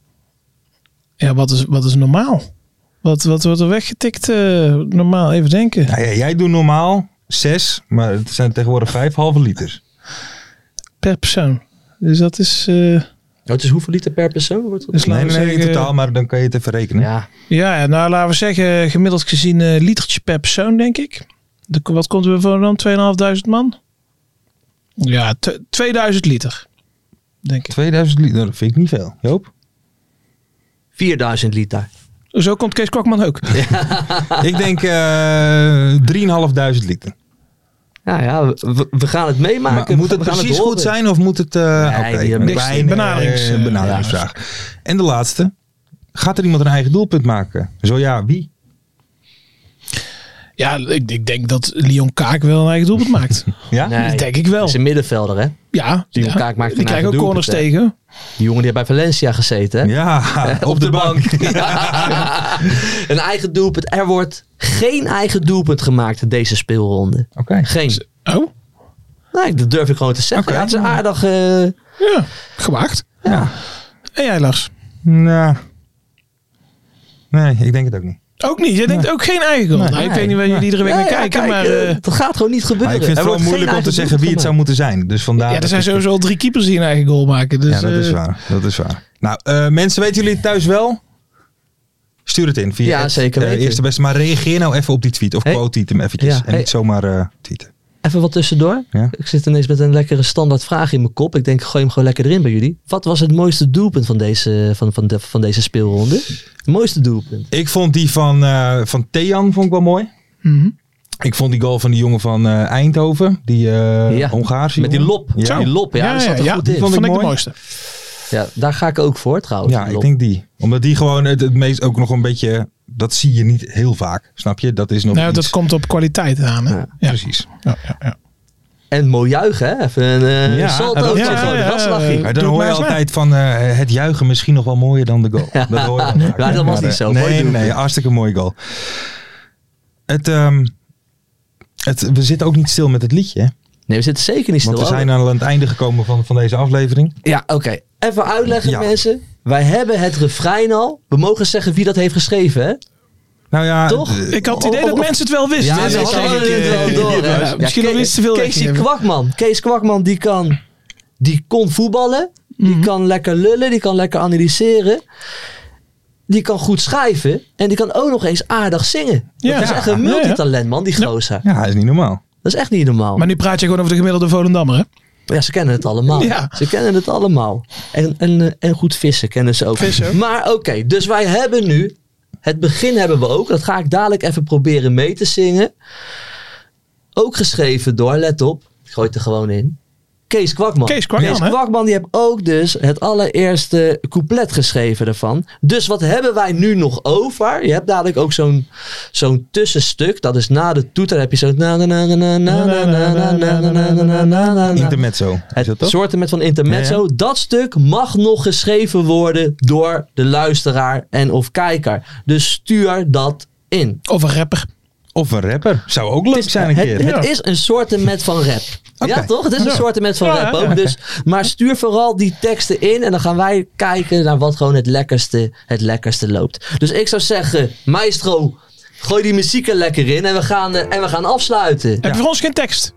Ja, wat is, wat is normaal? Wat, wat wordt er weggetikt? eh, normaal, even denken. Nou ja, jij doet normaal zes, maar het zijn tegenwoordig vijf halve liters. Per persoon. Dus dat is... eh, Oh, het is hoeveel liter per persoon? Wordt dat? Dus Nee, laten we nee, nee, in zeggen- totaal, maar dan kan je het even rekenen. Ja. Ja, ja, nou laten we zeggen, gemiddeld gezien eh litertje per persoon, denk ik. De, wat komt er voor dan? 2500 man? Ja, t- 2000 liter. Denk ik. 2000 liter, dat vind ik niet veel. Joop? 4000 liter. Zo komt Kees Kwakman ook. ik denk eh 3.500 liter. Ja, ja, we- we, we gaan het meemaken. Maar moet het we gaan precies horen. goed zijn of moet het... eh Nee, oké, die hebben een niks. kleine, Benaderings- eh, benaderingsvraag. En de laatste. Gaat er iemand een eigen doelpunt maken? Zo ja, wie? Ja, ik, ik denk dat Leon Kaak wel een eigen doelpunt maakt. Ja? Nee, Dat denk ik wel. Het is een middenvelder, hè? Ja, Dus Leon ja. Kaak maakt die een krijgen ook eigen corners doelpunt, tegen. Die jongen die heeft bij Valencia gezeten, hè? Ja, op, de, bank. een eigen doelpunt. Er wordt geen eigen doelpunt gemaakt in deze speelronde. Oké. Geen. Oh, Nee, dat durf ik gewoon te zeggen. Oké. Ja, het is een aardig... eh, ja. Gewaagd. Ja. En jij Lars? Nou. Nee, ik denk het ook niet. Ook niet. Jij denkt ook geen eigen goal. Nee. Nou, ik weet niet waar jullie iedere week ja, naar ja, kijken, kijk, maar... eh, eh, dat gaat gewoon niet gebeuren. Maar ik vind Er het wel wordt moeilijk geen om te eigen zeggen wie het doelpunt zou moeten zijn. Dus vandaar. ja, er dat zijn ik- sowieso al drie keepers die een eigen goal maken. Dus, Ja, dat is eh, waar. Dat is waar. Nou, eh, mensen, weten jullie het thuis wel? Stuur het in via Ja, het, zeker eh, weten. eerste beste. Maar reageer nou even op die tweet. Of Hey. quote tweet hem eventjes. Ja. En Hey. niet zomaar eh tweeten. gemaakt. Even wat tussendoor. Ja? Ik zit ineens met een lekkere standaard vraag in mijn kop. Ik denk, gooi hem gewoon lekker erin bij jullie. Wat was het mooiste doelpunt van deze, van, van de, van deze speelronde? Het mooiste doelpunt. Ik vond die van, eh, van Thean vond ik wel mooi. mhm. Ik vond die goal van die jongen van eh, Eindhoven. Die eh Ja. Hongaarse Met die jongen. lop. Ja. Die lop, ja. dat zat er goed die in. Vond vond ik ik de mooi. mooiste. Ja, daar ga ik ook voor trouwens. Ja, die ik lop. denk die. Omdat die gewoon het, het meest ook nog een beetje... Dat zie je niet heel vaak. Snap je? Dat is nog Nou, iets. dat komt op kwaliteit aan. Hè? Ja, Precies. Ja, ja, ja. En mooi juichen, hè? Even een eh, Ja, salto. dat- zo, ja, gewoon een ja, raslachje. ja. Maar dan Doe het hoor maar je eens na. altijd van eh, het juichen misschien nog wel mooier dan de goal. Dat hoor je dan vaak. Ja, dat was Maar, niet eh, zo. Mooi Nee, doelpunt. nee, hartstikke mooie goal. Het, ehm, het, we zitten ook niet stil met het liedje. hè? Nee, we zitten zeker niet stil. Oh, Want we hoor. zijn aan het einde gekomen van, van deze aflevering. Ja, oké. Even uitleggen, Ja. mensen. Wij hebben het refrein al. We mogen zeggen wie dat heeft geschreven, hè? Nou ja, Ah, Toch? eh, Ik had het idee Oh, dat oh, oh. mensen het wel wisten. Ja, hè? ze Dat hadden ik, het eh, wel door. hè? ja, Ja, Misschien nog Ke- iets te veel. Kees weggegeven. Kwakman. Kees Kwakman, die kan, die kon voetballen. Die Mhm. kan lekker lullen. Die kan lekker analyseren. Die kan goed schrijven. En die kan ook nog eens aardig zingen. Ja. dat is echt een Ah, Ja, ja. multitalent, man, die gozer. eh, ja, is niet normaal. Dat is echt niet normaal. Maar nu praat je gewoon over de gemiddelde Volendammer. Hè? Ja, ze kennen het allemaal. Ja. Ze kennen het allemaal. En, en, eh, en goed vissen kennen ze ook. Vissen. Maar oké, dus wij hebben nu... Het begin hebben we ook. Dat ga ik dadelijk even proberen mee te zingen. Ook geschreven door, let op. Ik gooi het er gewoon in. Kees Kwakman. Kees Kwakman, hè? Kwakman die heeft ook dus het allereerste couplet geschreven daarvan. Dus wat hebben wij nu nog over? Je hebt dadelijk ook zo'n zo'n tussenstuk. Dat is na de toeter heb je zo'n... na na na na na na na na na na na na na na na. Intermezzo. Is dat Het toch? soorten met van intermezzo. Dat stuk mag nog geschreven worden door de luisteraar en of kijker. Dus stuur dat in. Of een rapper. Of een rapper. Zou ook leuk zijn een het, keer. het is een soorten met van rap. Ja, Oké. toch? Het is een soorten met van rap ook. Dus, maar stuur vooral die teksten in. En dan gaan wij kijken naar wat gewoon het lekkerste, het lekkerste loopt. Dus ik zou zeggen, maestro, gooi die muziek er lekker in. En we gaan, eh, en we gaan afsluiten. Heb je voor ons geen tekst?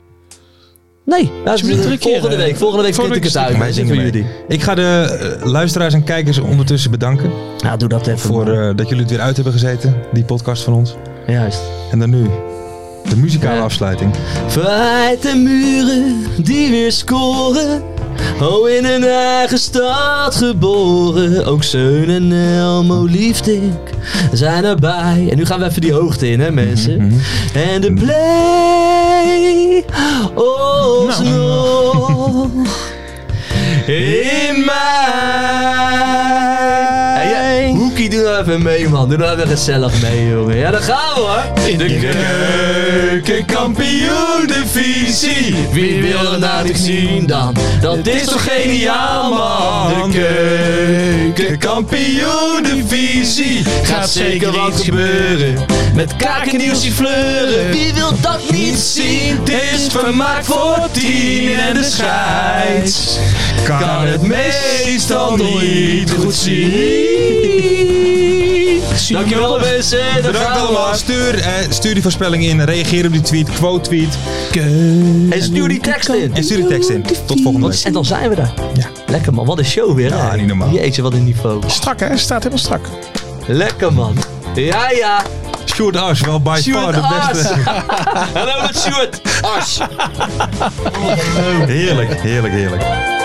Nee, dat is moet het drie keer, volgende eh, week. Volgende week volgende vind ik het week uit. Wij zingen Voor mee. jullie. Ik ga de eh, luisteraars en kijkers ondertussen bedanken. Nou, doe dat even. Voor man. eh, dat jullie het weer uit hebben gezeten. Die podcast van ons. Juist. En dan nu de muzikale Ja. afsluiting. Verheid en muren die weer scoren. Oh, in een eigen stad geboren. Ook Zeun en Elmo, liefde ik, zijn erbij. En nu gaan we even die hoogte in, hè, mensen. En de play ons nog in mij. Ja, Hoekie, doe nou even mee, man. Doe nou even gezellig mee, jongen. Ja, daar gaan we, hoor. In de keukenkampioen divisie. Wie wil er nou niet zien dan? Dat is toch geniaal, man. De keukenkampioen divisie. Gaat zeker wat gebeuren. Met kaken, nieuwsje, fleuren. Wie wil dat niet zien? Dit is vermaakt voor tien en de scheids kan het meestal niet goed zien. Dankjewel mensen, dat Bedankt gaan we. allemaal. Stuur, eh, stuur die voorspelling in. Reageer op die tweet. Quote tweet. En stuur die tekst in. En stuur die tekst in. Tot volgende week. En dan zijn we daar. Ja. Lekker man, wat een show weer. Ja, hè? niet normaal. Jeetje, wat een niveau. Strak hè, staat helemaal strak. Lekker man. Ja, ja. Stuart Ars, wel by Stuart far de Ars. beste. Hallo met Stuart. Ars. Heerlijk, heerlijk, heerlijk.